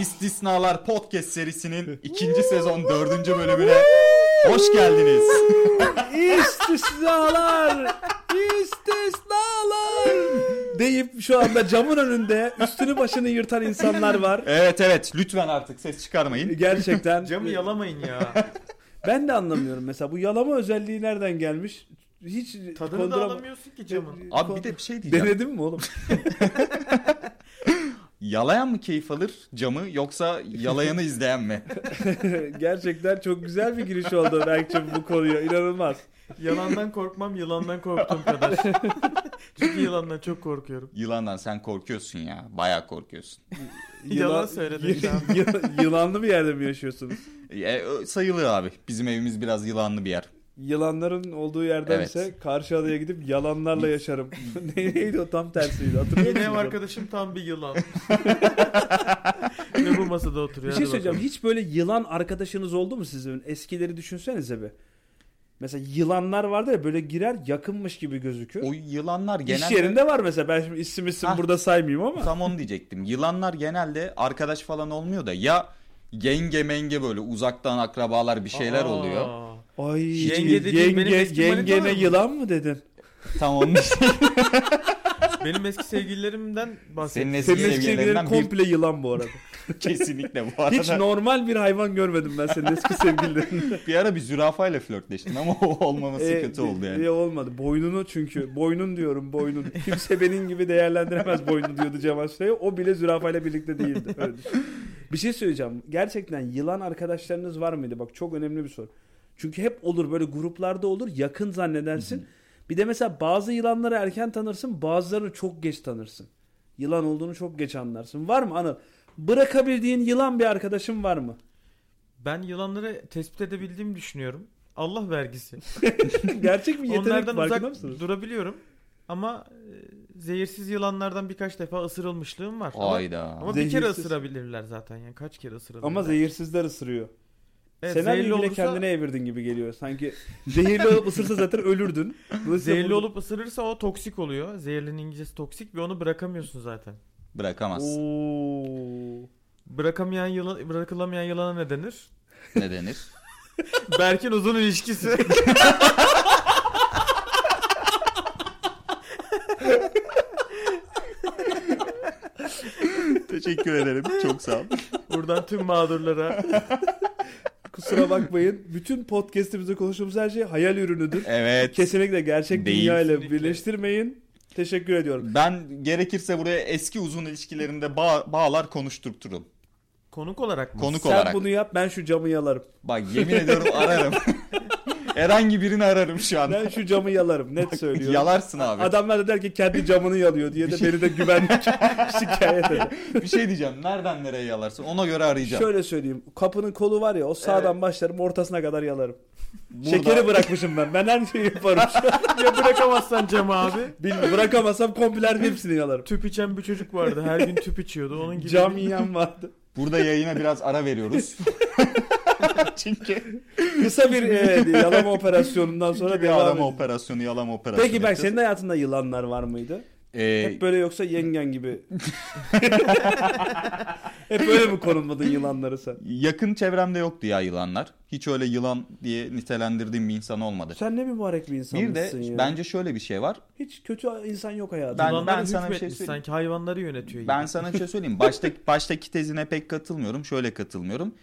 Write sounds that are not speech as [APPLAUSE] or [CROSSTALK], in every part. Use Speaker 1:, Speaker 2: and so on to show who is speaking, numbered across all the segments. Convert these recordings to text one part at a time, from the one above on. Speaker 1: İstisnalar Podcast
Speaker 2: [LAUGHS]
Speaker 1: serisinin ikinci sezon dördüncü bölümüne hoş geldiniz.
Speaker 2: İstisnalar! İstisnalar! deyip şu anda camın önünde üstünü başını yırtan insanlar var.
Speaker 1: Evet evet lütfen artık ses çıkarmayın.
Speaker 2: Gerçekten.
Speaker 3: Camı yalamayın
Speaker 2: [LAUGHS]
Speaker 3: ya.
Speaker 2: Ben de anlamıyorum mesela bu yalama özelliği nereden gelmiş? Hiç
Speaker 3: Tadını da
Speaker 2: konduram-
Speaker 3: alamıyorsun ki camın.
Speaker 1: Abi bir de bir şey diyeceğim.
Speaker 2: [LAUGHS] Denedin mi oğlum? [LAUGHS]
Speaker 1: Yalayan mı keyif alır camı yoksa
Speaker 2: [LAUGHS]
Speaker 1: yalayanı izleyen mi?
Speaker 2: Gerçekten çok güzel bir giriş oldu Berk'cim bu konuya. İnanılmaz.
Speaker 3: Yalandan korkmam, yılandan
Speaker 2: [LAUGHS]
Speaker 3: korktuğum kadar. Çünkü yılandan çok korkuyorum.
Speaker 1: Yılandan sen korkuyorsun ya. Bayağı korkuyorsun.
Speaker 3: Yalan söyledin
Speaker 2: y-
Speaker 3: şu an.
Speaker 2: y- Yılanlı bir yerde mi yaşıyorsunuz?
Speaker 1: E, ö- sayılı abi. Bizim evimiz biraz yılanlı bir yer.
Speaker 2: Yılanların olduğu yerdense
Speaker 1: Evet.
Speaker 2: karşı adaya gidip yalanlarla yaşarım. [LAUGHS] Ne- Neydi o tam tersiydi hatırlıyor
Speaker 3: Yine ev
Speaker 2: musunuz?
Speaker 3: arkadaşım tam bir
Speaker 2: [LAUGHS]
Speaker 3: yılan. Ve bu masada
Speaker 2: Bir
Speaker 3: oturuyor.
Speaker 2: şey
Speaker 3: hadi
Speaker 2: söyleyeceğim. Hiç böyle yılan arkadaşınız oldu mu sizin? Eskileri düşünsenize bir. Mesela yılanlar vardı ya böyle girer yakınmış gibi gözüküyor.
Speaker 1: O yılanlar
Speaker 2: İş
Speaker 1: genelde...
Speaker 2: yerinde var mesela. Ben şimdi isim isim
Speaker 1: Hah.
Speaker 2: burada saymayayım ama.
Speaker 1: Tam onu diyecektim. Yılanlar genelde arkadaş falan olmuyor da ya yenge menge böyle uzaktan akrabalar bir şeyler
Speaker 3: Aa.
Speaker 1: oluyor.
Speaker 2: Ay
Speaker 3: Yenge dediğin benim eski manitam
Speaker 2: yengene
Speaker 3: mı?
Speaker 2: yılan mı dedin?
Speaker 1: Tam onun [LAUGHS] için
Speaker 3: Benim eski sevgililerimden bahset.
Speaker 1: senin eski
Speaker 2: Senin eski sevgililerin
Speaker 1: sevgililerinden bir
Speaker 2: komple yılan bu arada.
Speaker 1: kesinlikle bu arada.
Speaker 2: Hiç normal bir hayvan görmedim ben senin eski sevgililerinde.
Speaker 1: Bir ara bir zürafayla flörtleştin ama o olmaması
Speaker 2: Ee,
Speaker 1: kötü oldu yani.
Speaker 2: e, olmadı. Boynunu çünkü. Boynun
Speaker 1: [LAUGHS]
Speaker 2: diyorum boynun. Kimse benim gibi değerlendiremez boynunu diyordu Cemal Süreyya. O bile zürafayla birlikte değildi. Öyle düşün. bir şey söyleyeceğim. Gerçekten yılan arkadaşlarınız var mıydı? Bak çok önemli bir soru. Çünkü hep olur böyle gruplarda olur. Yakın zannedersin. Bir de mesela bazı yılanları erken tanırsın. Bazılarını çok geç tanırsın. Yılan olduğunu çok geç anlarsın. Var mı Anıl? Bırakabildiğin yılan bir arkadaşın var mı? [LAUGHS]
Speaker 3: Ben yılanları tespit edebildiğimi düşünüyorum. Allah vergisi.
Speaker 2: Gerçek bir yetenek
Speaker 3: Onlardan
Speaker 2: farkında
Speaker 3: uzak
Speaker 2: mısınız?
Speaker 3: durabiliyorum. Ama e, zehirsiz yılanlardan birkaç defa ısırılmışlığım var. Ama-
Speaker 1: Hayda.
Speaker 3: Ama bir kere
Speaker 2: Zehirsiz.
Speaker 3: ısırabilirler zaten. Yani kaç kere ısırabilirler.
Speaker 2: Ama zehirsizler ısırıyor.
Speaker 3: Evet,
Speaker 2: Senaryoyu
Speaker 3: zehirli
Speaker 2: bile
Speaker 3: olursa- [LAUGHS]
Speaker 2: kendine evirdin gibi geliyor. Sanki [LAUGHS] zehirli olup ısırsa zaten ölürdün. Dolayısıyla
Speaker 3: Zehirli
Speaker 2: bu-
Speaker 3: olup ısırırsa o toksik oluyor. Zehirlinin İngilizcesi toksik ve onu bırakamıyorsun zaten.
Speaker 1: Bırakamaz.
Speaker 2: Oo.
Speaker 3: Bırakamayan yılan, bırakılamayan yılana ne denir? [LAUGHS]
Speaker 1: Ne denir?
Speaker 2: [LAUGHS]
Speaker 3: Berk'in uzun ilişkisi. [LAUGHS]
Speaker 1: Teşekkür ederim. Çok sağ ol.
Speaker 3: Buradan tüm mağdurlara.
Speaker 2: Kusura bakmayın. Bütün podcast'imizde konuştuğumuz her şey hayal ürünüdür.
Speaker 1: Evet.
Speaker 2: Kesinlikle gerçek
Speaker 1: Değil.
Speaker 2: dünya ile
Speaker 3: Kesinlikle.
Speaker 2: birleştirmeyin. Teşekkür ediyorum.
Speaker 1: Ben gerekirse buraya eski uzun ilişkilerinde bağ- bağlar konuşturturum.
Speaker 3: Konuk olarak mı?
Speaker 1: Konuk
Speaker 2: Sen
Speaker 1: olarak.
Speaker 2: bunu yap ben şu camı yalarım.
Speaker 1: Bak yemin ediyorum
Speaker 2: [LAUGHS]
Speaker 1: ararım. Herhangi birini ararım şu an.
Speaker 2: Ben şu camı yalarım net söylüyorum.
Speaker 1: Yalarsın abi.
Speaker 2: Adamlar da der ki kendi camını yalıyor diye de beni
Speaker 1: [LAUGHS]
Speaker 2: de güvenlik şikayet eder.
Speaker 1: Bir şey diyeceğim. Nereden nereye yalarsın? Ona göre arayacağım.
Speaker 2: Şöyle söyleyeyim. Kapının kolu var ya o sağdan başlarım ortasına kadar yalarım.
Speaker 1: Burada-
Speaker 2: Şekeri bırakmışım ben. Ben her şeyi yaparım. [LAUGHS]
Speaker 3: ya bırakamazsan Cem abi.
Speaker 2: Bilmiyorum. Bırakamazsam komple hepsini yalarım.
Speaker 3: Tüp içen bir çocuk vardı. Her gün tüp içiyordu. Onun gibi.
Speaker 2: Cam
Speaker 3: [LAUGHS]
Speaker 1: [LAUGHS]
Speaker 2: yiyen vardı.
Speaker 1: Burada yayına biraz ara
Speaker 2: [LAUGHS]
Speaker 1: veriyoruz. Çünkü
Speaker 2: Kısa bir e, yalama operasyonundan sonra
Speaker 1: sonra bir
Speaker 2: devam
Speaker 1: yalama
Speaker 2: edeceğiz.
Speaker 1: operasyonu, yalama operasyonu.
Speaker 2: Peki ben
Speaker 1: yapacağız.
Speaker 2: senin hayatında yılanlar var mıydı?
Speaker 1: Ee,
Speaker 2: Hep böyle yoksa
Speaker 1: [LAUGHS]
Speaker 2: yengen gibi. Hep böyle mi konulmadın yılanları sen?
Speaker 1: yakın çevremde yoktu ya yılanlar. Hiç öyle yılan diye nitelendirdiğim bir insan olmadı.
Speaker 2: Sen ne mübarek bir
Speaker 1: bir de
Speaker 2: insanmışsın ya.
Speaker 1: bence şöyle bir şey var.
Speaker 2: Hiç kötü insan yok hayatında.
Speaker 1: Ben-
Speaker 3: Yılanlara
Speaker 1: ben sana bir şey
Speaker 3: hükmetmiş,
Speaker 1: söyleyeyim.
Speaker 3: Sanki hayvanları yönetiyor gibi.
Speaker 1: Ben sana bir şey söyleyeyim.
Speaker 2: [LAUGHS]
Speaker 1: Başta, baştaki tezine pek katılmıyorum. Şöyle katılmıyorum.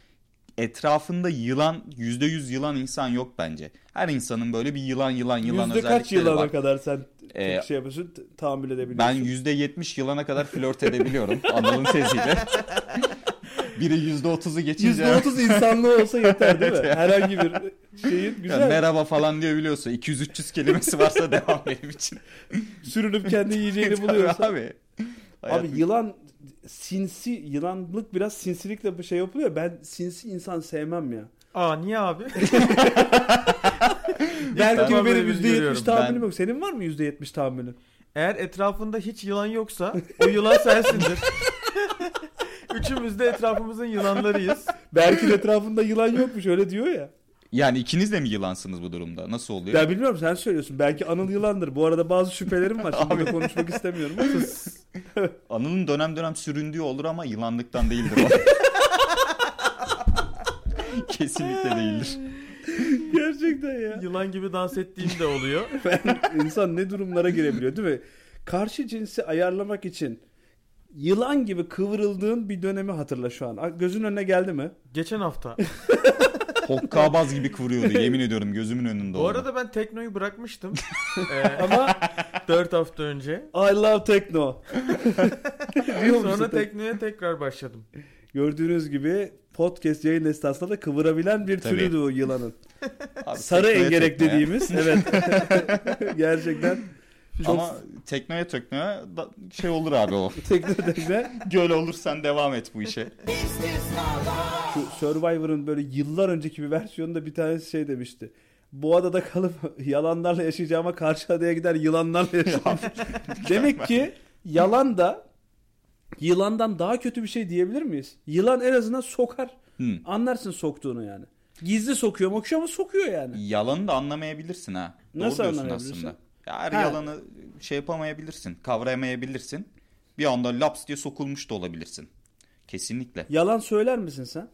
Speaker 1: Etrafında yılan, yüzde yüz yılan insan yok bence. Her insanın böyle bir yılan yılan yılan
Speaker 2: Yüzde kaç
Speaker 1: özellikleri
Speaker 2: yılana
Speaker 1: var.
Speaker 2: kadar sen
Speaker 1: Ee,
Speaker 2: şey yapıyorsun t- tahammül
Speaker 1: Ben
Speaker 2: edebiliyorsun?
Speaker 1: yüzde yetmiş yılana kadar flört
Speaker 2: [LAUGHS]
Speaker 1: edebiliyorum Anıl'ın teziyle. Biri yüzde otuzu geçince
Speaker 2: Yüzde otuz insanlığı olsa yeter değil mi?
Speaker 1: [LAUGHS] Evet ya.
Speaker 2: Herhangi bir şeyin
Speaker 1: Ya
Speaker 2: güzel.
Speaker 1: merhaba falan diyebiliyorsa 200-300 kelimesi varsa
Speaker 2: [LAUGHS]
Speaker 1: devam benim için.
Speaker 2: sürünüp kendi yiyeceğini
Speaker 1: Tabii
Speaker 2: buluyorsa.
Speaker 1: abi. Hayat-
Speaker 2: Abi yılan sinsi yılanlık biraz sinsilikle bir şey yapılıyor. Ben sinsi insan sevmem ya.
Speaker 3: Aa
Speaker 2: [LAUGHS]
Speaker 3: niye abi?
Speaker 2: Belki
Speaker 3: ben
Speaker 2: gibi benim
Speaker 3: böyle bir şey görüyorum.
Speaker 2: %70 tahammülüm
Speaker 1: Ben-
Speaker 2: yok. Senin var mı %70 tahammülün?
Speaker 3: Eğer etrafında hiç yılan yoksa o yılan
Speaker 2: [LAUGHS]
Speaker 3: sensindir. Üçümüz de etrafımızın yılanlarıyız.
Speaker 2: Belki de etrafında yılan yokmuş öyle diyor ya.
Speaker 1: Yani ikiniz de mi yılansınız bu durumda? Nasıl oluyor?
Speaker 3: [LAUGHS]
Speaker 2: Ya bilmiyorum sen söylüyorsun. Belki Anıl yılandır. Bu arada bazı şüphelerim var. Şimdi burada konuşmak istemiyorum. ama-
Speaker 1: Anıl'ın dönem dönem süründüğü olur ama yılanlıktan değildir [LAUGHS] o. Kesinlikle değildir.
Speaker 2: Gerçekten ya.
Speaker 3: Yılan gibi dans ettiğim de oluyor.
Speaker 2: İnsan ne durumlara girebiliyor değil mi? Karşı cinsi ayarlamak için yılan gibi kıvrıldığın bir dönemi hatırla şu an. A- Gözün önüne geldi mi?
Speaker 3: Geçen hafta.
Speaker 1: Hokkabaz gibi kıvırıyordu yemin ediyorum gözümün önünde
Speaker 3: Bu
Speaker 1: oldu.
Speaker 3: arada ben teknoyu
Speaker 2: [LAUGHS]
Speaker 3: bırakmıştım. ee, [LAUGHS]
Speaker 2: Ama
Speaker 3: 4 hafta önce.
Speaker 2: I love techno. Diyor musun
Speaker 3: Sonra
Speaker 2: tek-
Speaker 3: teknoya tekrar başladım.
Speaker 2: Gördüğünüz gibi podcast yayın esnasında da kıvırabilen bir
Speaker 1: Tabii.
Speaker 2: türü de o yılanın.
Speaker 1: Abi,
Speaker 2: Sarı
Speaker 1: tekneye
Speaker 2: engerek
Speaker 1: tekneye. [LAUGHS]
Speaker 2: dediğimiz. Evet. Gerçekten
Speaker 1: Ama tekneye tekneye da- şey olur abi o.
Speaker 2: tekno tekne.
Speaker 1: [LAUGHS] Göl olursan devam et bu işe.
Speaker 2: Şu Survivor'ın böyle yıllar önceki bir versiyonunda bir tanesi şey demişti. Bu adada kalıp yalanlarla yaşayacağıma karşı adaya gider yılanlarla
Speaker 1: [LAUGHS]
Speaker 2: yaşarım. Demek ki yalan da yılandan daha kötü bir şey diyebilir miyiz? Yılan en azından sokar.
Speaker 1: Hı.
Speaker 2: Anlarsın soktuğunu yani. Gizli sokuyor mokuyor ama sokuyor yani.
Speaker 1: Yalanı da anlamayabilirsin ha. Doğru
Speaker 2: Nasıl
Speaker 1: diyorsun
Speaker 2: anlamayabilirsin?
Speaker 1: aslında. Ya Her
Speaker 2: Ha.
Speaker 1: yalanı şey yapamayabilirsin, kavrayamayabilirsin. Bir anda laps diye sokulmuş da olabilirsin. Kesinlikle.
Speaker 2: Yalan söyler misin sen?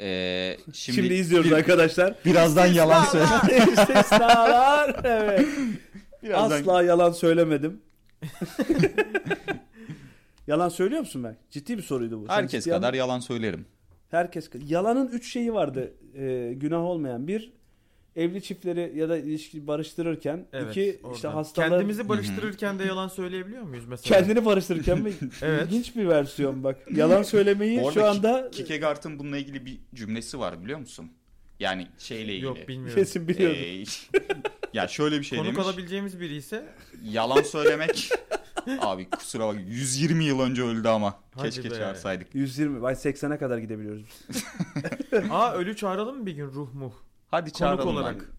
Speaker 1: Ee,
Speaker 2: [LAUGHS]
Speaker 1: şimdi,
Speaker 2: Şimdi,
Speaker 1: [LAUGHS]
Speaker 2: izliyoruz arkadaşlar.
Speaker 1: birazdan
Speaker 2: [LAUGHS]
Speaker 1: yalan söyle.
Speaker 2: İstisnalar. Evet.
Speaker 1: [LAUGHS] Birazdan-
Speaker 2: Asla yalan söylemedim. [LAUGHS] yalan söylüyor musun ben? Ciddi bir soruydu bu. Sen
Speaker 1: Herkes
Speaker 2: ciddi
Speaker 1: kadar
Speaker 2: anla-
Speaker 1: yalan söylerim.
Speaker 2: Herkes kadar. Yalanın üç şeyi vardı e, günah olmayan. Bir, evli çiftleri ya da ilişki barıştırırken.
Speaker 3: Evet.
Speaker 2: iki
Speaker 3: oradan.
Speaker 2: işte hastalar...
Speaker 3: Kendimizi barıştırırken de yalan söyleyebiliyor muyuz mesela?
Speaker 2: Kendini barıştırırken
Speaker 3: [LAUGHS]
Speaker 2: mi?
Speaker 3: Evet.
Speaker 2: İlginç bir versiyon bak. Yalan
Speaker 1: Bu
Speaker 2: söylemeyi
Speaker 1: arada
Speaker 2: şu anda
Speaker 1: Ki- Kierkegaard'ın bununla ilgili bir cümlesi var biliyor musun? Yani şeyle ilgili.
Speaker 3: Yok bilmiyorum.
Speaker 2: kesin biliyordum.
Speaker 1: Ee, [LAUGHS] ya şöyle bir şey
Speaker 3: Konuk
Speaker 1: demiş.
Speaker 3: alabileceğimiz biri
Speaker 2: [LAUGHS]
Speaker 3: ise
Speaker 1: Yalan
Speaker 3: [LAUGHS]
Speaker 1: söylemek. Abi kusura bak 120 yıl önce öldü ama.
Speaker 3: Hadi
Speaker 1: Keşke
Speaker 3: be.
Speaker 1: çağırsaydık.
Speaker 2: 120, vay 80'e kadar gidebiliyoruz biz.
Speaker 3: aa ölü çağıralım mı bir gün ruh muh?
Speaker 1: Hadi
Speaker 3: Konuk
Speaker 1: çağıralım. lan.
Speaker 2: [LAUGHS]
Speaker 3: olarak.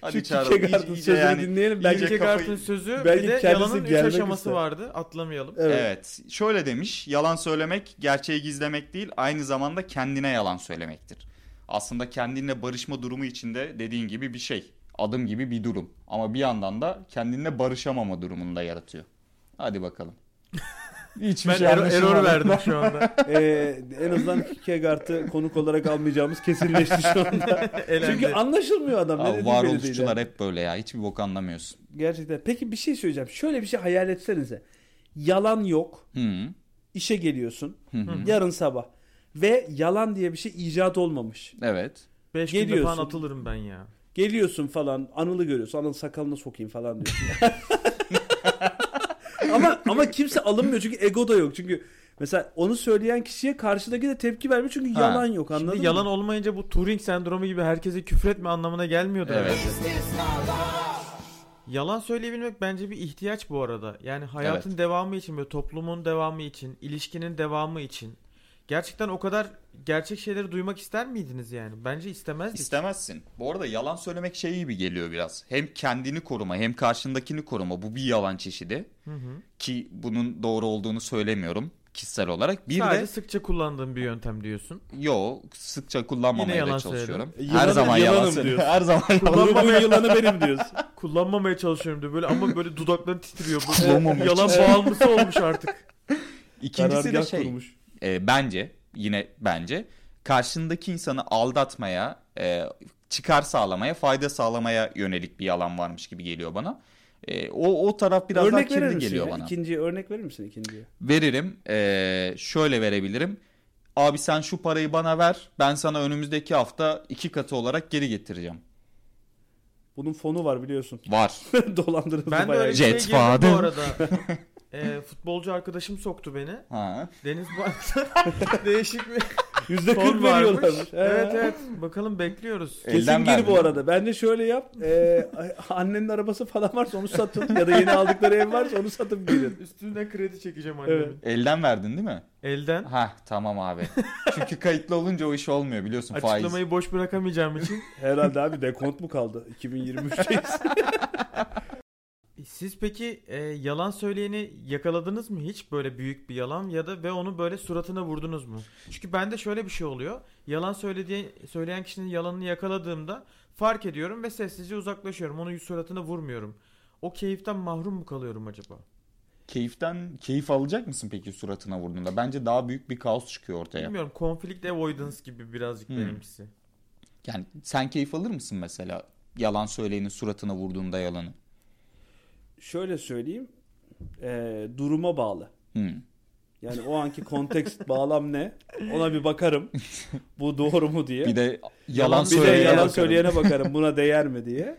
Speaker 1: Hadi
Speaker 2: Şu
Speaker 1: çağıralım. İyice-
Speaker 2: Kierkegaard'ın
Speaker 1: iyice
Speaker 2: sözünü
Speaker 1: yani-
Speaker 2: dinleyelim.
Speaker 1: iyice
Speaker 2: Belki
Speaker 3: Kierkegaard'ın
Speaker 1: kafayı-
Speaker 3: sözü
Speaker 2: Belki
Speaker 3: bir de
Speaker 2: kendisi
Speaker 3: yalanın üç
Speaker 2: gelmek
Speaker 3: aşaması
Speaker 2: ister.
Speaker 3: vardı. Atlamayalım.
Speaker 2: Evet.
Speaker 1: Evet. Şöyle demiş. Yalan söylemek gerçeği gizlemek değil, aynı zamanda kendine yalan söylemektir. Aslında kendinle barışma durumu içinde dediğin gibi bir şey. Adım gibi bir durum. Ama bir yandan da kendinle barışamama durumunda yaratıyor. Hadi bakalım. Hiçbir
Speaker 3: Ben
Speaker 1: şey
Speaker 3: ero- error
Speaker 1: anlaşılmadı.
Speaker 3: verdim
Speaker 1: [LAUGHS]
Speaker 3: şu anda.
Speaker 2: Ee, en azından Kierkegaard'ı konuk olarak almayacağımız kesinleşti şu
Speaker 1: [LAUGHS]
Speaker 2: anda.
Speaker 3: Elendi.
Speaker 2: Çünkü anlaşılmıyor adam. Ne
Speaker 1: Abi
Speaker 2: dediği belli değil
Speaker 1: varoluşçular
Speaker 2: yani.
Speaker 1: hep böyle ya. Hiçbir bok anlamıyorsun.
Speaker 2: Gerçekten. Peki bir şey söyleyeceğim. Şöyle bir şey hayal etsenize. Yalan yok.
Speaker 1: Hı.
Speaker 2: İşe geliyorsun.
Speaker 1: Hı hı.
Speaker 2: Yarın sabah. Ve yalan diye bir şey icat olmamış.
Speaker 1: Evet.
Speaker 3: Beş günde
Speaker 2: Geliyorsun.
Speaker 3: falan atılırım ben ya.
Speaker 2: Geliyorsun falan. Anıl'ı görüyorsun. Anıl sakalına sokayım falan diyorsun. [LAUGHS] ama ama kimse alınmıyor çünkü ego da yok. Çünkü mesela onu söyleyen kişiye karşıdaki de tepki vermiyor çünkü
Speaker 1: Ha.
Speaker 2: yalan yok anladın
Speaker 3: Şimdi
Speaker 2: mı?
Speaker 3: yalan olmayınca bu Turing sendromu gibi herkese küfretme anlamına gelmiyordu
Speaker 1: Evet.
Speaker 3: herhalde. Yalan söyleyebilmek bence bir ihtiyaç bu arada. Yani hayatın devamı için ve toplumun devamı için, ilişkinin devamı için. Gerçekten o kadar gerçek şeyleri duymak ister miydiniz yani? Bence istemezdik.
Speaker 1: İstemezsin. Bu arada yalan söylemek şey gibi geliyor biraz. Hem kendini koruma hem karşındakini koruma. Bu bir yalan çeşidi.
Speaker 3: Hı hı.
Speaker 1: Ki bunun doğru olduğunu söylemiyorum kişisel olarak. Bir
Speaker 3: Sadece
Speaker 1: de
Speaker 3: sıkça kullandığım bir yöntem diyorsun.
Speaker 1: yo sıkça
Speaker 3: Yine
Speaker 1: kullanmamaya
Speaker 3: yalan
Speaker 1: da çalışıyorum.
Speaker 2: söyledim.
Speaker 1: Her
Speaker 2: Yılanım,
Speaker 1: zaman yalan
Speaker 2: yılanım
Speaker 1: söylüyorum. [LAUGHS]
Speaker 2: diyorsun.
Speaker 1: Her zaman yalan.
Speaker 2: Grubun yılanı benim diyorsun.
Speaker 3: Kullanmamaya çalışıyorum diyor böyle ama böyle dudakları titriyor. Böyle
Speaker 1: Kullanmamak
Speaker 3: yalan
Speaker 1: için.
Speaker 3: bağımlısı olmuş artık.
Speaker 1: İkincisi de
Speaker 2: Karargah
Speaker 1: şey
Speaker 2: kurmuş.
Speaker 1: e, bence yine bence karşındaki insanı aldatmaya e, çıkar sağlamaya fayda sağlamaya yönelik bir yalan varmış gibi geliyor bana. E, o o taraf biraz daha
Speaker 2: örnek verir
Speaker 1: kirli
Speaker 2: misin
Speaker 1: geliyor
Speaker 2: ya?
Speaker 1: bana.
Speaker 2: İkinciye örnek verir misin ikinciye?
Speaker 1: Veririm. Ee, şöyle verebilirim. Abi sen şu parayı bana ver. Ben sana önümüzdeki hafta iki katı olarak geri getireceğim.
Speaker 2: Bunun fonu var biliyorsun. [LAUGHS]
Speaker 1: Var.
Speaker 3: [LAUGHS]
Speaker 2: Dolandırıldı
Speaker 3: Ben de
Speaker 2: bayağı.
Speaker 3: öyle bir
Speaker 1: Jet
Speaker 3: şey girdim
Speaker 1: Fadıl.
Speaker 3: bu arada.
Speaker 1: [LAUGHS]
Speaker 3: Ee, futbolcu arkadaşım soktu beni.
Speaker 1: Ha.
Speaker 3: Deniz Bank'ta
Speaker 2: [LAUGHS]
Speaker 3: değişik bir
Speaker 2: Yüzde
Speaker 3: fon
Speaker 2: kırk
Speaker 3: varmış.
Speaker 2: veriyorlar.
Speaker 3: evet evet.
Speaker 2: Ee.
Speaker 3: Bakalım bekliyoruz.
Speaker 1: E,
Speaker 2: Kesin
Speaker 1: Elden
Speaker 2: gir bu
Speaker 1: verdim.
Speaker 2: arada. Ben de şöyle yap. Ee, annenin arabası falan varsa onu satın. Ya da yeni aldıkları ev varsa onu satıp girin.
Speaker 3: Üstüne kredi çekeceğim annemin.
Speaker 2: Evet.
Speaker 1: Elden verdin değil mi?
Speaker 3: Elden.
Speaker 1: Ha tamam
Speaker 3: [LAUGHS]
Speaker 1: abi. Çünkü kayıtlı olunca o iş olmuyor biliyorsun faiz.
Speaker 3: Açıklamayı boş bırakamayacağım için.
Speaker 2: Herhalde abi dekont mu kaldı? [LAUGHS] 2023'teyiz.
Speaker 3: Siz peki e, yalan söyleyeni yakaladınız mı hiç böyle büyük bir yalan ya da ve onu böyle suratına vurdunuz mu? Çünkü bende şöyle bir şey oluyor. Yalan söylediği söyleyen kişinin yalanını yakaladığımda fark ediyorum ve sessizce uzaklaşıyorum. Onu suratına vurmuyorum. O keyiften mahrum mu kalıyorum acaba?
Speaker 1: keyiften keyif alacak mısın peki suratına vurduğunda? Bence daha büyük bir kaos çıkıyor ortaya.
Speaker 3: Bilmiyorum conflict avoidance gibi birazcık
Speaker 1: Hmm.
Speaker 3: benimkisi.
Speaker 1: Yani sen keyif alır mısın mesela yalan söyleyenin suratına vurduğunda yalanı?
Speaker 2: Şöyle söyleyeyim. Ee, duruma bağlı.
Speaker 1: Hmm.
Speaker 2: Yani o anki kontekst bağlam ne? Ona bir bakarım. Bu doğru mu diye.
Speaker 1: Bir de
Speaker 3: Yalan
Speaker 1: yalan,
Speaker 2: bir de
Speaker 1: söyleyene
Speaker 2: yalan
Speaker 1: bakarım. [LAUGHS]
Speaker 2: söyleyene bakarım buna değer mi diye.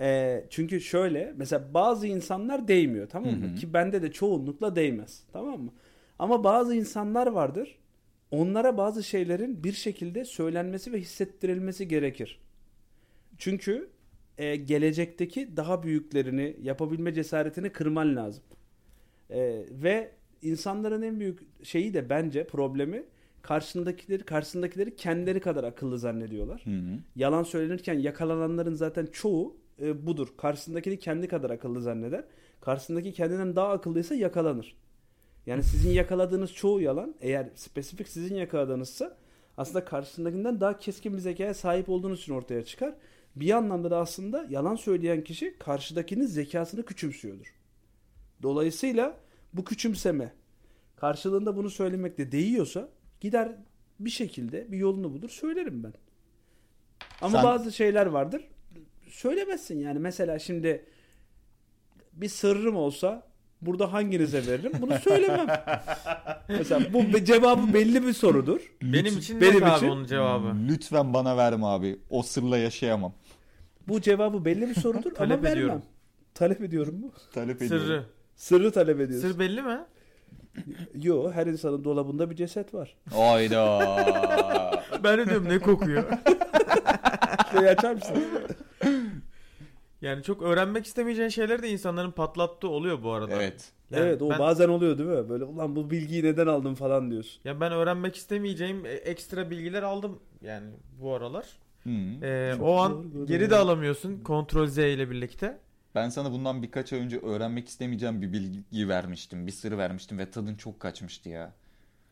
Speaker 2: Ee, çünkü şöyle mesela bazı insanlar değmiyor tamam mı?
Speaker 1: Hı hı.
Speaker 2: Ki bende de çoğunlukla değmez tamam mı? Ama bazı insanlar vardır. Onlara bazı şeylerin bir şekilde söylenmesi ve hissettirilmesi gerekir. Çünkü e, gelecekteki daha büyüklerini yapabilme cesaretini kırman lazım. E, ve insanların en büyük şeyi de bence problemi karşındakileri karşısındakileri kendileri kadar akıllı zannediyorlar.
Speaker 1: Hı hı.
Speaker 2: Yalan söylenirken yakalananların zaten çoğu e, budur. Karşısındakini kendi kadar akıllı zanneder. Karşısındaki kendinden daha akıllıysa yakalanır. Yani sizin yakaladığınız çoğu yalan eğer spesifik sizin yakaladığınızsa aslında karşısındakinden daha keskin bir zekaya sahip olduğunuz için ortaya çıkar. Bir anlamda da aslında yalan söyleyen kişi karşıdakinin zekasını küçümsüyordur. Dolayısıyla bu küçümseme karşılığında bunu söylemekte değiyorsa gider bir şekilde bir yolunu bulur söylerim ben. Ama
Speaker 1: Sen-
Speaker 2: bazı şeyler vardır söylemezsin yani mesela şimdi bir sırrım olsa burada hanginize veririm bunu
Speaker 3: [LAUGHS]
Speaker 2: söylemem. mesela bu be- cevabı belli bir sorudur.
Speaker 3: Benim için
Speaker 2: Benim
Speaker 3: yok abi
Speaker 2: için-
Speaker 3: onun cevabı.
Speaker 1: Hmm. Lütfen bana verme abi. O sırla yaşayamam.
Speaker 2: Bu cevabı belli bir
Speaker 3: [LAUGHS]
Speaker 2: sorudur ama
Speaker 3: Talep
Speaker 2: vermem.
Speaker 3: ediyorum.
Speaker 2: Talep ediyorum mu?
Speaker 1: Talep ediyorum.
Speaker 3: Sırrı.
Speaker 2: Sırrı talep ediyorsun.
Speaker 3: Sır belli mi?
Speaker 2: Yo her insanın dolabında bir ceset var.
Speaker 3: [LAUGHS]
Speaker 1: Ayda.
Speaker 3: Ben de diyorum ne kokuyor.
Speaker 2: Şeyi Şey açar mısın?
Speaker 3: Yani çok öğrenmek istemeyeceğin şeyler de insanların patlattığı oluyor bu arada.
Speaker 1: evet.
Speaker 3: [LAUGHS] Yani
Speaker 2: evet o
Speaker 3: ben,
Speaker 2: bazen oluyor değil mi? Böyle ulan bu bilgiyi neden aldım falan diyorsun.
Speaker 3: Ya ben öğrenmek istemeyeceğim e, ekstra bilgiler aldım yani bu aralar.
Speaker 1: Hı hı.
Speaker 3: Ee,
Speaker 2: Çok
Speaker 3: o
Speaker 2: zor böyle
Speaker 3: an geri de
Speaker 2: ya.
Speaker 3: alamıyorsun Ctrl Z ile birlikte.
Speaker 1: Ben sana bundan birkaç ay önce öğrenmek istemeyeceğim bir bilgi vermiştim. Bir sırrı vermiştim ve tadın çok kaçmıştı ya.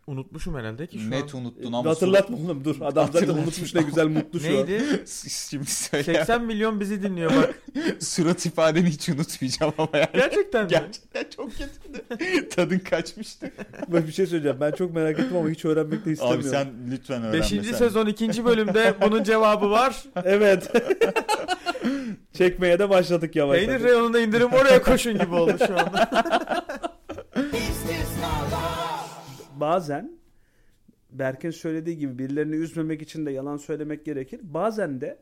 Speaker 3: Unutmuşum herhalde ki şu
Speaker 1: Net
Speaker 3: an. e,
Speaker 1: unuttun ama
Speaker 2: Hatırlatma oğlum dur. Adam zaten
Speaker 1: Hatırlat.
Speaker 2: unutmuş ne güzel mutlu
Speaker 1: [LAUGHS]
Speaker 2: şu an.
Speaker 3: Neydi?
Speaker 1: sur- Şimdi söyle.
Speaker 3: 80 milyon bizi dinliyor
Speaker 1: [LAUGHS]
Speaker 3: bak.
Speaker 1: Surat ifadeni hiç unutmayacağım ama yani.
Speaker 3: Gerçekten mi?
Speaker 1: Gerçekten çok kötüydü. [LAUGHS] Tadın kaçmıştı.
Speaker 2: Böyle bir şey söyleyeceğim. Ben çok merak ettim ama hiç öğrenmek de
Speaker 1: Abi
Speaker 2: istemiyorum.
Speaker 1: sen lütfen öğrenme
Speaker 3: Beşinci
Speaker 1: sen.
Speaker 3: sezon
Speaker 1: [LAUGHS]
Speaker 3: ikinci bölümde bunun cevabı var.
Speaker 2: Evet. [LAUGHS] Çekmeye de başladık yavaş
Speaker 3: Peynir
Speaker 2: yavaş.
Speaker 3: reyonunda indirim oraya koşun gibi oldu şu anda.
Speaker 2: Bazen Berk'in söylediği gibi birilerini üzmemek için de yalan söylemek gerekir. Bazen de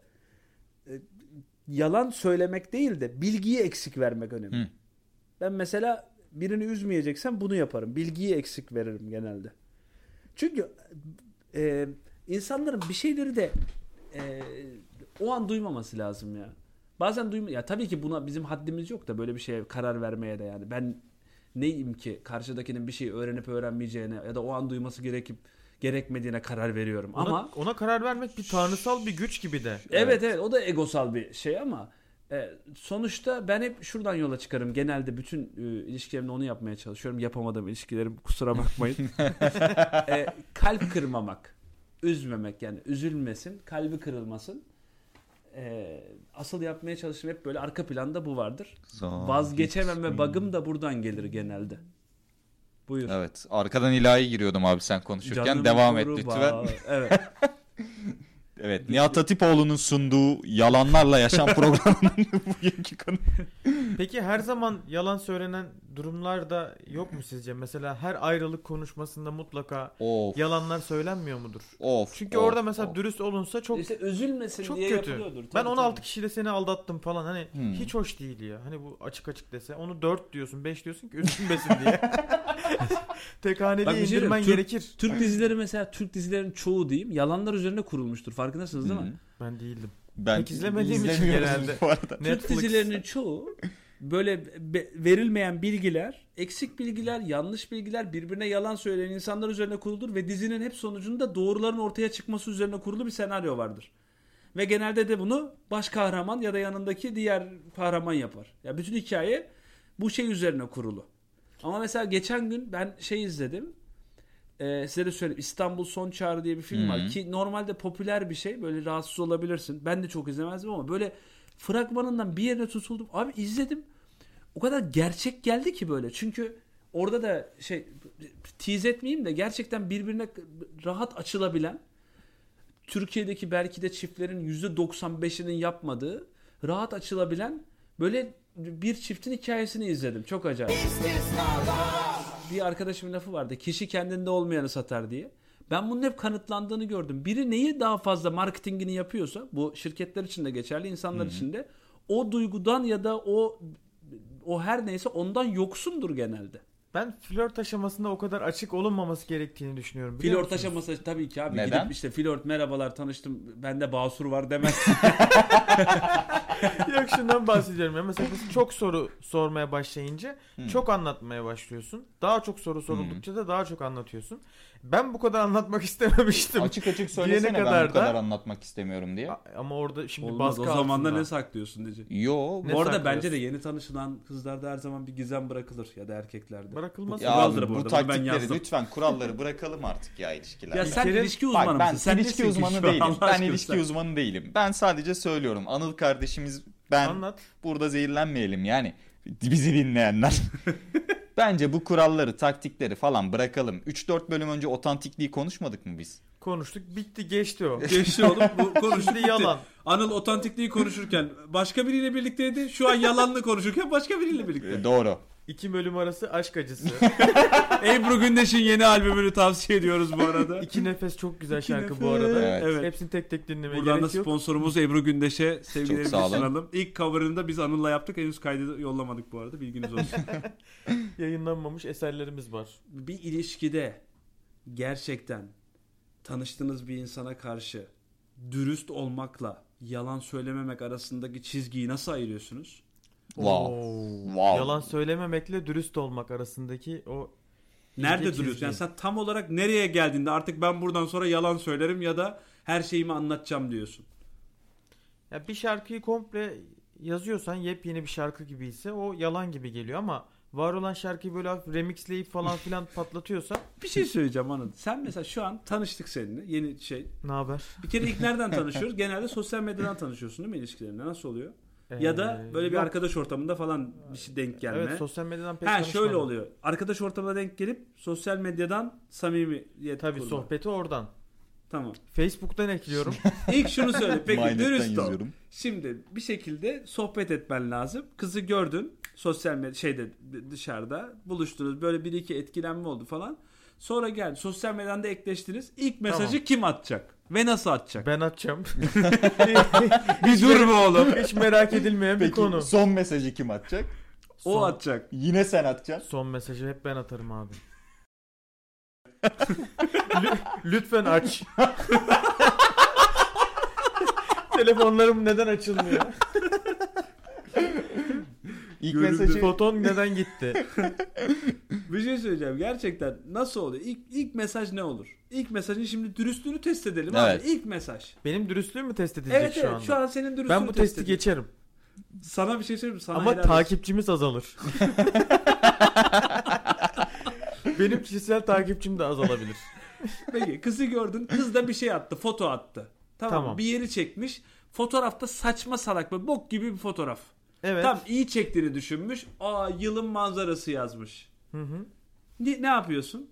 Speaker 2: e, yalan söylemek değil de bilgiyi eksik vermek önemli.
Speaker 1: Hı.
Speaker 2: Ben mesela birini üzmeyeceksem bunu yaparım. Bilgiyi eksik veririm genelde. Çünkü e, insanların bir şeyleri de e, o an duymaması lazım ya. Bazen duyma ya tabii ki buna bizim haddimiz yok da böyle bir şeye karar vermeye de yani ben neyim ki karşıdakinin bir şeyi öğrenip öğrenmeyeceğine ya da o an duyması gerekip gerekmediğine karar veriyorum ama
Speaker 3: Ona, ona karar vermek bir tanrısal bir güç gibi de.
Speaker 2: Evet evet, o da egosal bir şey ama e, sonuçta ben hep şuradan yola çıkarım. Genelde bütün e, ilişkilerimde onu yapmaya çalışıyorum. Yapamadım ilişkilerim [LAUGHS]
Speaker 1: [LAUGHS]
Speaker 2: kusura bakmayın. E, kalp kırmamak, üzmemek yani üzülmesin, kalbi kırılmasın. E, asıl yapmaya çalıştığım hep böyle arka planda bu vardır.
Speaker 1: Zor.
Speaker 2: Vazgeçemem ve bug'ım da buradan gelir genelde. Buyur.
Speaker 1: Hmm. Evet. Arkadan ilahi giriyordum abi sen konuşurken.
Speaker 2: Canım
Speaker 1: Devam et
Speaker 2: kuru
Speaker 1: lütfen.
Speaker 2: bağ- Evet.
Speaker 1: Evet. Nihat Atipoğlu'nun sunduğu Yalanlarla
Speaker 3: [LAUGHS]
Speaker 1: Yaşam programının [LAUGHS] bugünkü konu.
Speaker 3: Peki her zaman yalan söylenen durumlar da yok mu sizce? Mesela her ayrılık konuşmasında mutlaka
Speaker 1: Of.
Speaker 3: yalanlar söylenmiyor mudur?
Speaker 1: Of.
Speaker 3: Çünkü
Speaker 1: of,
Speaker 3: orada mesela
Speaker 1: of.
Speaker 3: dürüst olunsa [LAUGHS] çok
Speaker 2: İşte üzülmesin
Speaker 3: çok
Speaker 2: diye
Speaker 3: kötü.
Speaker 2: yapılıyordur. Tabii,
Speaker 3: Ben 16
Speaker 2: tabii.
Speaker 3: kişiyle seni aldattım falan hani
Speaker 1: Hmm.
Speaker 3: hiç hoş değil ya. Hani bu açık açık dese onu 4 diyorsun 5 diyorsun ki üzülmesin
Speaker 1: [LAUGHS]
Speaker 3: diye. Tek haneli
Speaker 2: Bak bir şey diyeyim,
Speaker 3: indirmen
Speaker 2: Türk-
Speaker 3: gerekir.
Speaker 2: Türk dizileri mesela Türk dizilerin çoğu diyeyim yalanlar üzerine kurulmuştur. Farkındasınız değil
Speaker 1: Hı.
Speaker 2: mi?
Speaker 3: Ben değildim.
Speaker 1: Ben
Speaker 3: Pek izlemediğim için
Speaker 1: izlemiyoruz
Speaker 3: genelde.
Speaker 1: [LAUGHS] bu arada.
Speaker 2: Türk dizilerinin çoğu böyle be- verilmeyen bilgiler, eksik bilgiler, yanlış bilgiler, birbirine yalan söyleyen insanlar üzerine kurulur ve dizinin hep sonucunda doğruların ortaya çıkması üzerine kurulu bir senaryo vardır. Ve genelde de bunu baş kahraman ya da yanındaki diğer kahraman yapar. Ya bütün hikaye bu şey üzerine kurulu. Ama mesela geçen gün ben şey izledim. Ee, size de söyleyeyim. İstanbul Son Çağrı diye bir film
Speaker 1: Hı
Speaker 2: var
Speaker 1: hı.
Speaker 2: ki normalde popüler bir şey. Böyle rahatsız olabilirsin. Ben de çok izlemezdim ama böyle fragmanından bir yerine tutuldum. Abi izledim. O kadar gerçek geldi ki böyle. Çünkü Orada da şey tiz etmeyeyim de gerçekten birbirine rahat açılabilen Türkiye'deki belki de çiftlerin %95'inin yapmadığı rahat açılabilen böyle bir çiftin hikayesini izledim. Çok acayip. Bir arkadaşımın lafı vardı. Kişi kendinde olmayanı satar diye. Ben bunun hep kanıtlandığını gördüm. Biri neyi daha fazla marketingini yapıyorsa bu şirketler için de geçerli, insanlar için de o duygudan ya da o o her neyse ondan yoksundur genelde.
Speaker 3: Ben flört aşamasında o kadar açık olunmaması gerektiğini düşünüyorum. biliyor
Speaker 2: Flört
Speaker 3: musunuz?
Speaker 2: aşaması tabii ki abi
Speaker 1: Neden?
Speaker 2: gidip işte flört merhabalar tanıştım bende basur var demez.
Speaker 3: [LAUGHS] Yok şundan bahsediyorum ya. Mesela kız çok soru sormaya başlayınca
Speaker 1: Hmm.
Speaker 3: çok anlatmaya başlıyorsun. Daha çok soru soruldukça da daha çok anlatıyorsun. Ben bu kadar anlatmak istememiştim.
Speaker 1: Açık açık
Speaker 3: Diyene
Speaker 1: söylesene ben
Speaker 3: kadar
Speaker 1: bu kadar
Speaker 3: da-
Speaker 1: anlatmak istemiyorum diye.
Speaker 3: A- Ama orada şimdi
Speaker 2: Olmaz
Speaker 3: baskı
Speaker 2: o zaman da
Speaker 3: altında.
Speaker 2: ne saklıyorsun diyecek.
Speaker 1: Yo
Speaker 3: Ne
Speaker 2: Bu arada
Speaker 3: saklıyorsun?
Speaker 2: bence de yeni tanışılan kızlarda her zaman bir gizem bırakılır ya da erkeklerde.
Speaker 3: Bırakılmaz.
Speaker 1: ya
Speaker 2: kuraldır
Speaker 1: abi,
Speaker 2: bu
Speaker 1: bu,
Speaker 2: arada, bunu ben
Speaker 1: taktikleri
Speaker 2: yazdım.
Speaker 1: lütfen kuralları bırakalım artık ya ilişkilerde.
Speaker 2: Ya sen
Speaker 3: kere-
Speaker 2: ilişki
Speaker 1: Bak,
Speaker 2: uzmanı mısın?
Speaker 1: ben
Speaker 2: Sen
Speaker 1: ilişki
Speaker 2: nesin ki
Speaker 1: uzmanı
Speaker 2: şu an?
Speaker 1: değilim.
Speaker 2: Allah
Speaker 1: Ben
Speaker 2: aşkına
Speaker 1: ilişki
Speaker 2: sen.
Speaker 1: uzmanı değilim. Ben sadece söylüyorum. Anıl kardeşimiz ben
Speaker 3: Anlat.
Speaker 1: burada zehirlenmeyelim yani bizi
Speaker 3: [LAUGHS]
Speaker 1: dinleyenler. Bence bu kuralları, taktikleri falan bırakalım. 3-4 bölüm önce otantikliği konuşmadık mı biz?
Speaker 3: Konuştuk. Bitti
Speaker 1: [LAUGHS]
Speaker 3: geçti o.
Speaker 2: Geçti oğlum [LAUGHS] bu konuştuk
Speaker 3: Şimdi
Speaker 2: bitti.
Speaker 3: yalan.
Speaker 2: Anıl otantikliği konuşurken başka biriyle birlikteydi. Şu an yalanlı konuşurken başka biriyle birlikte.
Speaker 3: Eh.
Speaker 1: Ee, Doğru.
Speaker 3: İki bölüm arası aşk
Speaker 2: [LAUGHS]
Speaker 3: acısı.
Speaker 1: [LAUGHS]
Speaker 2: Ebru Gündeş'in yeni albümünü tavsiye ediyoruz bu [LAUGHS] arada.
Speaker 3: İki nefes çok güzel
Speaker 2: İki
Speaker 3: şarkı bu
Speaker 2: nefes.
Speaker 3: arada.
Speaker 1: Evet.
Speaker 3: Hepsini tek tek dinlemeye
Speaker 2: Buradan da
Speaker 3: gerek yok.
Speaker 2: sponsorumuz Ebru Gündeş'e sevgilerimizi
Speaker 1: sağ olun.
Speaker 2: sunalım. İlk cover'ını da biz Anıl'la yaptık. Henüz kaydı yollamadık bu arada. Bilginiz olsun. [LAUGHS]
Speaker 3: Yayınlanmamış eserlerimiz var.
Speaker 2: bir ilişkide gerçekten tanıştığınız bir insana karşı dürüst olmakla yalan söylememek arasındaki çizgiyi nasıl ayırıyorsunuz?
Speaker 1: Wow.
Speaker 3: Oo.
Speaker 1: Wow.
Speaker 3: Yalan söylememekle dürüst olmak arasındaki o
Speaker 2: Nerede
Speaker 3: İlginç
Speaker 2: duruyorsun?
Speaker 3: çizgi.
Speaker 2: Yani sen tam olarak nereye geldiğinde artık ben buradan sonra yalan söylerim ya da her şeyimi anlatacağım diyorsun.
Speaker 3: Ya bir şarkıyı komple yazıyorsan yepyeni bir şarkı gibi ise o yalan gibi geliyor ama var olan şarkıyı böyle hafif remixleyip falan
Speaker 1: [LAUGHS]
Speaker 3: filan patlatıyorsan
Speaker 2: Bir şey söyleyeceğim Anıl. Sen mesela şu an tanıştık seninle. Yeni şey.
Speaker 3: ne haber?
Speaker 2: Bir kere ilk nereden
Speaker 3: [LAUGHS]
Speaker 2: tanışıyoruz? Genelde sosyal medyadan tanışıyorsun değil mi ilişkilerinde? Nasıl oluyor? Ya da
Speaker 3: Ee,
Speaker 2: böyle bir
Speaker 3: yok.
Speaker 2: arkadaş ortamında falan bir şey denk gelme.
Speaker 3: Evet sosyal medyadan pek
Speaker 2: Ha
Speaker 3: tanışmadım.
Speaker 2: şöyle oluyor. Arkadaş ortamına denk gelip sosyal medyadan samimiyet
Speaker 3: Tabii
Speaker 2: kurma.
Speaker 3: sohbeti oradan.
Speaker 2: Tamam. [LAUGHS]
Speaker 3: Facebook'tan ekliyorum.
Speaker 2: İlk şunu söyle. Peki
Speaker 1: Minecraft'tan
Speaker 2: dürüst ol.
Speaker 1: yazıyorum.
Speaker 2: Şimdi bir şekilde sohbet etmen lazım. Kızı gördün sosyal medya şeyde dışarıda buluştunuz. Böyle bir iki etkilenme oldu falan. Sonra geldi sosyal medyada ekleştiniz. İlk mesajı
Speaker 3: Tamam.
Speaker 2: kim atacak ve nasıl atacak? [LAUGHS]
Speaker 3: ben atacağım.
Speaker 2: bir dur be oğlum.
Speaker 3: Hiç merak edilmeyen bir
Speaker 1: Peki
Speaker 3: konu.
Speaker 1: son mesajı kim atacak?
Speaker 2: O
Speaker 3: Son-
Speaker 2: atacak.
Speaker 1: Yine sen atacaksın.
Speaker 3: Son mesajı hep ben
Speaker 2: [LAUGHS]
Speaker 3: atarım abi. Lü- Lütfen aç. [LAUGHS] Telefonlarım neden açılmıyor?
Speaker 1: İlk
Speaker 2: Görüldü.
Speaker 1: mesajı
Speaker 3: Foton neden gitti?
Speaker 2: Bir şey söyleyeceğim. Gerçekten nasıl oluyor? İlk, ilk mesaj ne olur? İlk mesajın şimdi dürüstlüğünü test edelim abi.
Speaker 1: Evet.
Speaker 2: İlk mesaj.
Speaker 3: Benim dürüstlüğüm mü test edilecek
Speaker 2: Evet
Speaker 3: şu
Speaker 2: evet
Speaker 3: anda?
Speaker 2: şu an senin dürüstlüğünü
Speaker 3: ben bu
Speaker 2: test
Speaker 3: testi
Speaker 2: edelim.
Speaker 3: geçerim.
Speaker 2: Sana bir şey söyleyeyim mi? Sana
Speaker 3: Ama
Speaker 2: helal olsun. [LAUGHS]
Speaker 3: takipçimiz azalır. Benim kişisel takipçim de azalabilir.
Speaker 2: Peki kızı gördün. Kız da bir şey attı. Foto attı. Tamam.
Speaker 3: Tamam.
Speaker 2: Bir yeri çekmiş. Fotoğrafta saçma salak bir bok gibi bir fotoğraf.
Speaker 3: Evet.
Speaker 2: Tam iyi çektiğini düşünmüş. Aa yılın manzarası yazmış.
Speaker 3: Hı hı.
Speaker 2: Ne, ne yapıyorsun?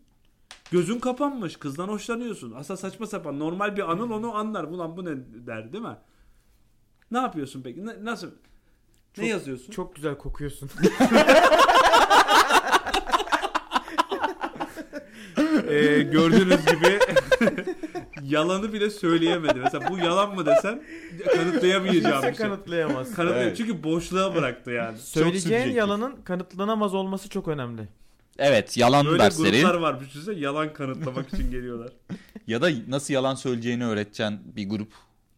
Speaker 2: Gözün kapanmış. Kızdan hoşlanıyorsun. Aslında saçma sapan. Normal bir anıl onu anlar. Ulan bu ne der değil mi? Ne yapıyorsun peki? Ne- nasıl?
Speaker 3: Çok-
Speaker 2: ne yazıyorsun?
Speaker 3: Çok güzel
Speaker 2: [LAUGHS]
Speaker 3: kokuyorsun.
Speaker 2: Ee,
Speaker 3: e,
Speaker 2: gördüğünüz gibi [LAUGHS] yalanı bile söyleyemedi. Mesela bu yalan mı desen kanıtlayamayacağım
Speaker 3: Kimse
Speaker 2: bir şey.
Speaker 3: kanıtlayamaz.
Speaker 2: Kanıtlayam-
Speaker 1: Evet.
Speaker 2: Çünkü boşluğa bıraktı yani.
Speaker 3: Söyleyeceğin
Speaker 1: subjektif.
Speaker 3: yalanın kanıtlanamaz olması çok önemli.
Speaker 1: Evet yalan
Speaker 2: Böyle
Speaker 1: dersleri
Speaker 2: gruplar var düşünsene yalan kanıtlamak için
Speaker 3: [LAUGHS]
Speaker 2: geliyorlar.
Speaker 1: ya da nasıl yalan söyleyeceğini öğreteceğin bir grup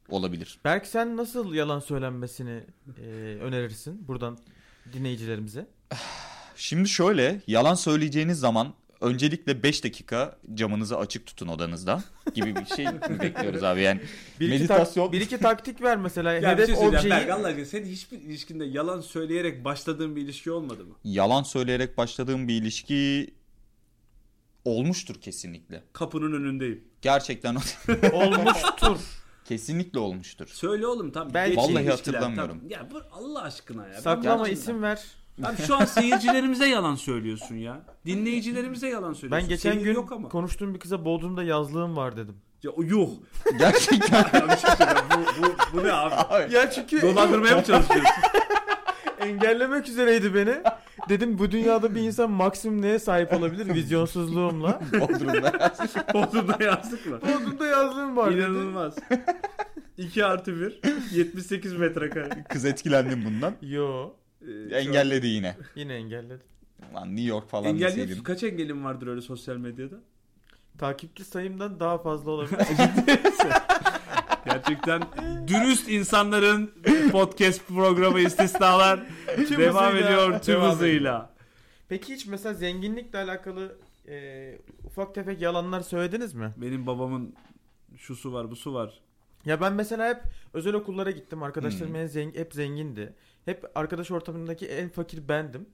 Speaker 1: olabilir.
Speaker 3: Berk sen nasıl yalan söylenmesini e, önerirsin buradan dinleyicilerimize?
Speaker 1: Şimdi şöyle yalan söyleyeceğiniz zaman öncelikle 5 dakika camınızı açık tutun odanızda gibi bir şey mi bekliyoruz abi yani.
Speaker 3: Bir iki,
Speaker 1: Meditasyon.
Speaker 3: tak- bir iki taktik ver mesela.
Speaker 2: ya bir
Speaker 3: Hedef
Speaker 2: şey söyleyeceğim
Speaker 3: objeyi
Speaker 2: Berk Allah aşkına senin hiçbir ilişkinde yalan söyleyerek başladığın bir ilişki olmadı mı?
Speaker 1: Yalan söyleyerek başladığım bir ilişki olmuştur kesinlikle.
Speaker 2: Kapının önündeyim.
Speaker 1: Gerçekten
Speaker 3: olmuştur.
Speaker 1: [LAUGHS] kesinlikle olmuştur.
Speaker 2: Söyle oğlum tam.
Speaker 3: Belki-
Speaker 2: geçin
Speaker 1: Vallahi
Speaker 2: ilişkiler,
Speaker 1: hatırlamıyorum.
Speaker 2: tam. [LAUGHS] Ya bu Allah aşkına ya. ben
Speaker 3: Saklama
Speaker 2: bunun için-
Speaker 3: isim ver.
Speaker 2: Abi şu an seyircilerimize yalan söylüyorsun ya. Dinleyicilerimize yalan söylüyorsun.
Speaker 3: Ben geçen
Speaker 2: Sevgili
Speaker 3: gün
Speaker 2: yok ama.
Speaker 3: konuştuğum bir kıza Bodrum'da yazlığım var dedim.
Speaker 2: Ya, yuh. [LAUGHS]
Speaker 1: Gerçekten
Speaker 2: Ya bir şey söyleyeyim. bu, bu, bu ne abi?
Speaker 3: Ya çünkü
Speaker 2: Dolandırmaya mı çalışıyorsun?
Speaker 3: engellemek üzereydi beni. Dedim bu dünyada bir insan maksimum neye sahip olabilir vizyonsuzluğumla.
Speaker 1: Bodrum'da.
Speaker 2: [LAUGHS] Bodrum'da yazdık mı?
Speaker 3: Bodrum'da yazlığım var dedi.
Speaker 2: İnanılmaz. 2 artı 1. 78
Speaker 1: [LAUGHS]
Speaker 2: metrekare.
Speaker 1: Kız etkilendim bundan.
Speaker 3: Yo.
Speaker 2: Ee,
Speaker 1: Engelledi yine.
Speaker 3: Yine engelledi.
Speaker 1: Lan New York
Speaker 2: şu
Speaker 1: falan
Speaker 2: an- Engelli
Speaker 1: deseydin.
Speaker 2: kaç engelim vardır öyle sosyal medyada?
Speaker 3: Takipçi sayımdan daha fazla olabilir.
Speaker 2: Gerçekten dürüst insanların podcast programı istisnalar
Speaker 3: Tüm
Speaker 2: devam
Speaker 3: hızıyla-
Speaker 2: ediyor tüm
Speaker 3: devam
Speaker 2: hızıyla.
Speaker 3: Peki hiç mesela zenginlikle alakalı e, ufak tefek yalanlar söylediniz mi?
Speaker 2: Benim babamın şusu var, busu var.
Speaker 3: Ya ben mesela hep özel okullara gittim. Arkadaşlarım
Speaker 1: Hmm.
Speaker 3: en zengin, hep zengindi. Hep arkadaş ortamındaki en fakir bendim.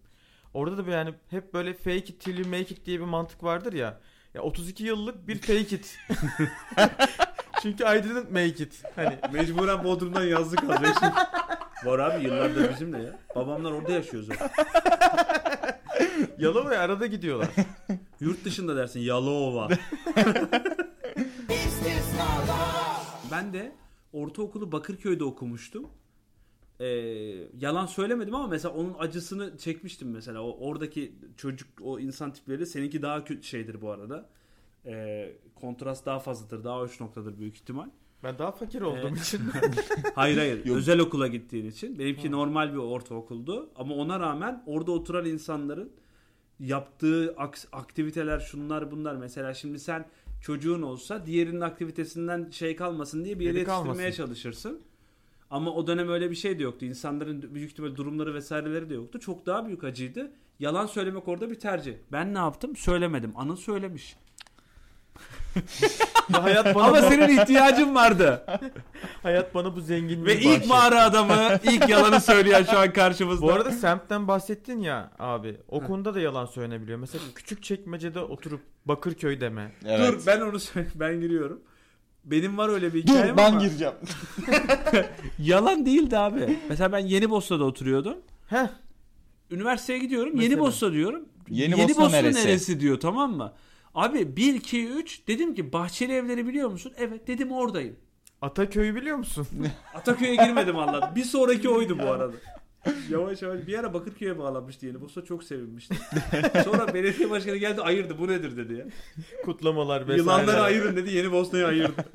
Speaker 3: Orada da böyle yani hep böyle fake it till you make it diye bir mantık vardır ya. Ya 32
Speaker 2: [LAUGHS]
Speaker 3: yıllık bir fake it. [LAUGHS] Çünkü I didn't make it. Hani
Speaker 2: Mecburen Bodrum'dan yazlık alacaksın. [LAUGHS] var abi yıllardır bizimle ya. Babamlar orada yaşıyor zaten.
Speaker 3: Yalova'ya arada gidiyorlar.
Speaker 2: Yurt dışında dersin Yalova. ben de ortaokulu Bakırköy'de okumuştum. Ee, yalan söylemedim ama mesela onun acısını çekmiştim mesela. O oradaki çocuk o insan tipleri seninki daha kötü şeydir bu arada. Ee, kontrast daha fazladır. Daha uç noktadır büyük ihtimal.
Speaker 3: Ben daha fakir olduğum
Speaker 2: Evet. [LAUGHS]
Speaker 3: için. [LAUGHS]
Speaker 2: Hayır hayır.
Speaker 1: Yok.
Speaker 2: Özel okula gittiğin için. Benimki
Speaker 3: Ha.
Speaker 2: normal bir ortaokuldu. Ama ona rağmen orada oturan insanların yaptığı aks- aktiviteler şunlar bunlar. Mesela şimdi sen çocuğun olsa diğerinin aktivitesinden şey kalmasın diye bir yere
Speaker 3: Geri
Speaker 2: yetiştirmeye
Speaker 3: kalmasın.
Speaker 2: çalışırsın. Ama o dönem öyle bir şey de yoktu. İnsanların büyük ihtimalle durumları vesaireleri de yoktu. Çok daha büyük acıydı. Yalan söylemek orada bir tercih. Ben ne yaptım? Söylemedim. Anıl söylemiş.
Speaker 3: Ya hayat bana
Speaker 2: Ama
Speaker 3: bu,
Speaker 2: senin ihtiyacın [LAUGHS] vardı.
Speaker 3: hayat bana bu zenginliği
Speaker 2: Ve ilk
Speaker 3: bahşetti.
Speaker 2: mağara adamı, ilk yalanı söyleyen şu an karşımızda.
Speaker 3: Bu arada semtten bahsettin ya abi. O konuda da yalan söylenebiliyor. Mesela küçük çekmecede oturup Bakırköy deme.
Speaker 1: Evet.
Speaker 2: Dur ben onu söyle [LAUGHS] ben giriyorum. Benim var öyle bir hikayem
Speaker 1: Dur ben
Speaker 2: ama
Speaker 1: gireceğim.
Speaker 2: yalan değildi abi. Mesela ben Yeni Bosna'da oturuyordum.
Speaker 3: Heh.
Speaker 2: Üniversiteye gidiyorum.
Speaker 3: Mesela.
Speaker 2: Yeni Bosna diyorum.
Speaker 1: Yeni Bosna neresi?
Speaker 2: diyor tamam mı? Abi 1 2 3 dedim ki Bahçeli Evleri biliyor musun? Evet dedim oradayım.
Speaker 3: Ataköy'ü biliyor musun?
Speaker 2: Ataköy'e girmedim Allah. Bir sonraki oydu bu arada. Yavaş yavaş bir ara Bakırköy'e bağlanmıştı Yeni Bosna çok sevinmişti. Sonra belediye başkanı geldi ayırdı bu nedir dedi ya.
Speaker 3: Kutlamalar vesaire.
Speaker 2: Yılanları ayırın dedi Yeni Bosna'yı ayırdı. [LAUGHS]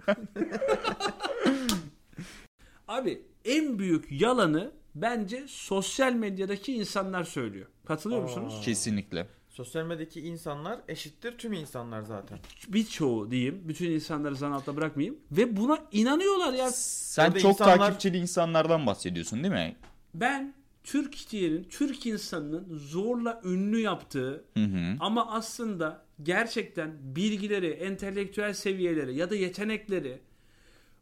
Speaker 2: Abi en büyük yalanı bence sosyal medyadaki insanlar söylüyor. Katılıyor
Speaker 3: Aa.
Speaker 2: musunuz?
Speaker 1: Kesinlikle.
Speaker 3: Sosyal medyadaki insanlar eşittir tüm insanlar zaten.
Speaker 2: Birçoğu diyeyim. Bütün insanları zan altta bırakmayayım. Ve buna inanıyorlar ya.
Speaker 1: Sen
Speaker 3: Orada
Speaker 1: çok
Speaker 3: insanlar-
Speaker 1: takipçili insanlardan bahsediyorsun değil mi?
Speaker 2: Ben Türkiye'nin, Türk insanının zorla ünlü yaptığı
Speaker 1: Hı hı.
Speaker 2: Ama aslında gerçekten bilgileri, entelektüel seviyeleri ya da yetenekleri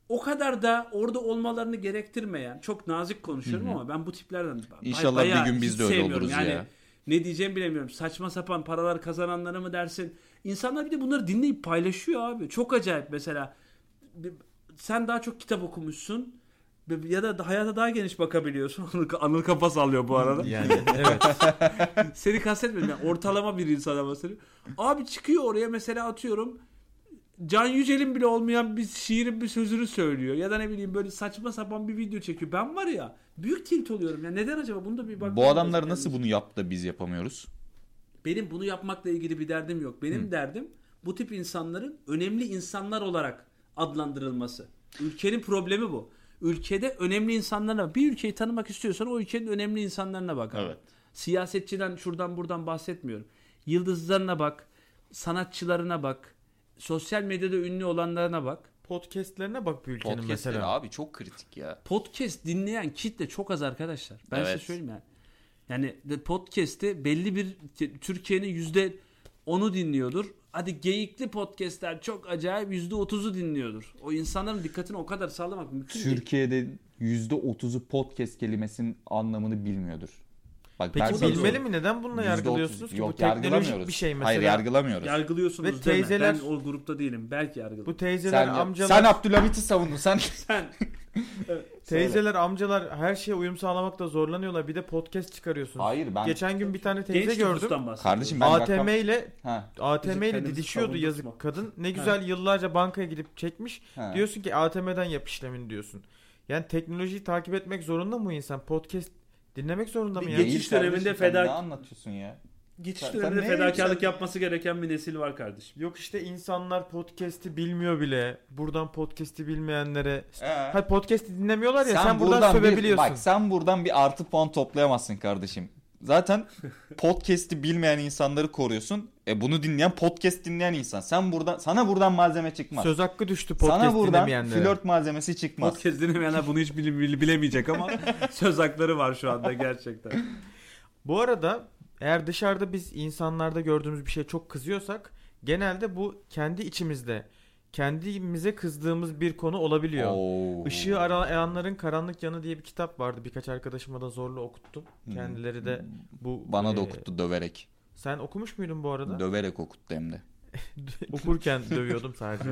Speaker 2: o kadar da orada olmalarını gerektirmeyen, çok nazik konuşuyorum ama ben bu tiplerden ba-
Speaker 1: İnşallah
Speaker 2: bayağı
Speaker 1: bir gün biz
Speaker 2: hiç
Speaker 1: de öyle
Speaker 2: sevmiyorum.
Speaker 1: oluruz
Speaker 2: yani,
Speaker 1: ya.
Speaker 2: Ne diyeceğimi bilemiyorum. Saçma sapan paralar kazananlara mı dersin? İnsanlar bir de bunları dinleyip paylaşıyor abi. Çok acayip mesela. Bir- Sen daha çok kitap okumuşsun Bir- ya da hayata daha geniş bakabiliyorsun. [LAUGHS] Anıl, Anıl kafa sallıyor bu arada.
Speaker 3: Yani evet.
Speaker 2: Seni kastetmedim. Yani ortalama bir insana bahsediyorum. Abi çıkıyor oraya mesela atıyorum. Can Yücel'in bile olmayan bir şiirin bir sözünü söylüyor. Ya da ne bileyim böyle saçma sapan bir video çekiyor. Ben var ya büyük tilt oluyorum. Ya neden acaba? Bunu da bir bak.
Speaker 1: Bu adamlar nasıl bunu yaptı da biz yapamıyoruz?
Speaker 2: Benim bunu yapmakla ilgili bir derdim yok. Benim derdim bu tip insanların önemli insanlar olarak adlandırılması. Ülkenin problemi bu. Ülkede önemli insanlara bir ülkeyi tanımak istiyorsan o ülkenin önemli insanlarına bak. abi.
Speaker 1: Evet.
Speaker 2: Siyasetçiden şuradan buradan bahsetmiyorum. Yıldızlarına bak, sanatçılarına bak, sosyal medyada ünlü olanlarına bak.
Speaker 3: [LAUGHS] Podcast'lerine bak bu ülkenin
Speaker 1: Podcast'leri
Speaker 3: mesela.
Speaker 1: abi çok kritik ya.
Speaker 2: Podcast dinleyen kitle çok az arkadaşlar. Ben
Speaker 1: Evet.
Speaker 2: size söyleyeyim yani. Yani de- podcast'i belli bir Türkiye'nin yüzde onu dinliyordur. Hadi geyikli podcast'ler çok acayip yüzde otuzu dinliyordur. O insanların dikkatini o kadar sağlamak mümkün değil.
Speaker 1: Türkiye'de %30'u podcast kelimesinin anlamını bilmiyordur. Bak
Speaker 3: Peki
Speaker 1: ben sana
Speaker 3: bilmeli
Speaker 1: söyleyeyim.
Speaker 3: mi? Neden bununla
Speaker 1: %30
Speaker 3: yargılıyorsunuz ki?
Speaker 1: Yok,
Speaker 3: bu teknolojik
Speaker 1: yargılamıyoruz.
Speaker 3: bir şey mesela.
Speaker 1: Hayır yargılamıyoruz.
Speaker 2: Yargılıyorsunuz
Speaker 3: Ve
Speaker 2: deme.
Speaker 3: teyzeler-
Speaker 2: Ben o grupta değilim. Belki yargılıyorsunuz.
Speaker 3: Bu teyzeler,
Speaker 1: sen,
Speaker 3: amcalar...
Speaker 1: sen Abdülhamit'i savundun. Sen
Speaker 2: Sen
Speaker 3: Teyzeler, amcalar her şeye uyum sağlamakta zorlanıyorlar. Bir de podcast çıkarıyorsunuz.
Speaker 1: Hayır ben
Speaker 3: Geçen gün bir tane [LAUGHS] teyze
Speaker 2: Genç
Speaker 3: gördüm.
Speaker 2: nüfustan bahsediyoruz.
Speaker 1: kardeşim ben
Speaker 3: ATM
Speaker 1: rakam-
Speaker 3: ile
Speaker 1: Ha,
Speaker 3: ATM ile
Speaker 4: kendimizi
Speaker 3: didişiyordu
Speaker 4: savundurtma.
Speaker 3: yazık kadın. Ne güzel yıllarca bankaya gidip çekmiş.
Speaker 1: ha.
Speaker 3: Diyorsun ki ATM'den yap işlemini diyorsun. Yani teknolojiyi takip etmek zorunda mı insan? Podcast dinlemek zorunda mı
Speaker 2: Bir
Speaker 3: ya?
Speaker 2: geçiş
Speaker 1: Değil
Speaker 2: döneminde
Speaker 1: kardeşim, sen
Speaker 2: feda-
Speaker 1: Ne anlatıyorsun ya? Sen-
Speaker 2: Geçiş
Speaker 1: sen
Speaker 2: döneminde
Speaker 1: neye
Speaker 2: fedakarlık
Speaker 1: yükseldin?
Speaker 2: yapması gereken bir nesil var kardeşim.
Speaker 3: Yok işte insanlar podcast'i bilmiyor bile. Buradan podcast'i bilmeyenlere
Speaker 1: Ee,
Speaker 3: Hayır podcast'i dinlemiyorlar ya sen, buradan, sövebiliyorsun.
Speaker 1: Bir, bak sen buradan bir artı puan toplayamazsın kardeşim.
Speaker 3: [LAUGHS]
Speaker 1: Zaten podcast'i bilmeyen insanları koruyorsun. E bunu dinleyen podcast dinleyen insan. Sen buradan sana buradan malzeme çıkmaz.
Speaker 3: Söz hakkı düştü
Speaker 1: sana
Speaker 3: podcast
Speaker 1: buradan
Speaker 3: dinlemeyenlere.
Speaker 1: flört malzemesi çıkmaz.
Speaker 2: Podcast dinlemeyenler bunu hiç bile- bile- bilemeyecek
Speaker 3: [LAUGHS]
Speaker 2: ama söz hakları var şu anda gerçekten.
Speaker 3: Bu arada eğer dışarıda biz insanlarda gördüğümüz bir şeye çok kızıyorsak genelde bu kendi içimizde kendimize kızdığımız bir konu olabiliyor.
Speaker 1: Oo.
Speaker 3: Işığı Arayanların Karanlık Yanı diye bir kitap vardı. Birkaç arkadaşıma da zorla okuttum.
Speaker 1: Hı.
Speaker 3: Kendileri de bu
Speaker 1: Hmm. bana
Speaker 3: e,
Speaker 1: da okuttu döverek.
Speaker 3: Sen okumuş muydun bu arada?
Speaker 1: Döverek okuttu hem de.
Speaker 3: [LAUGHS] Okurken dövüyordum sadece.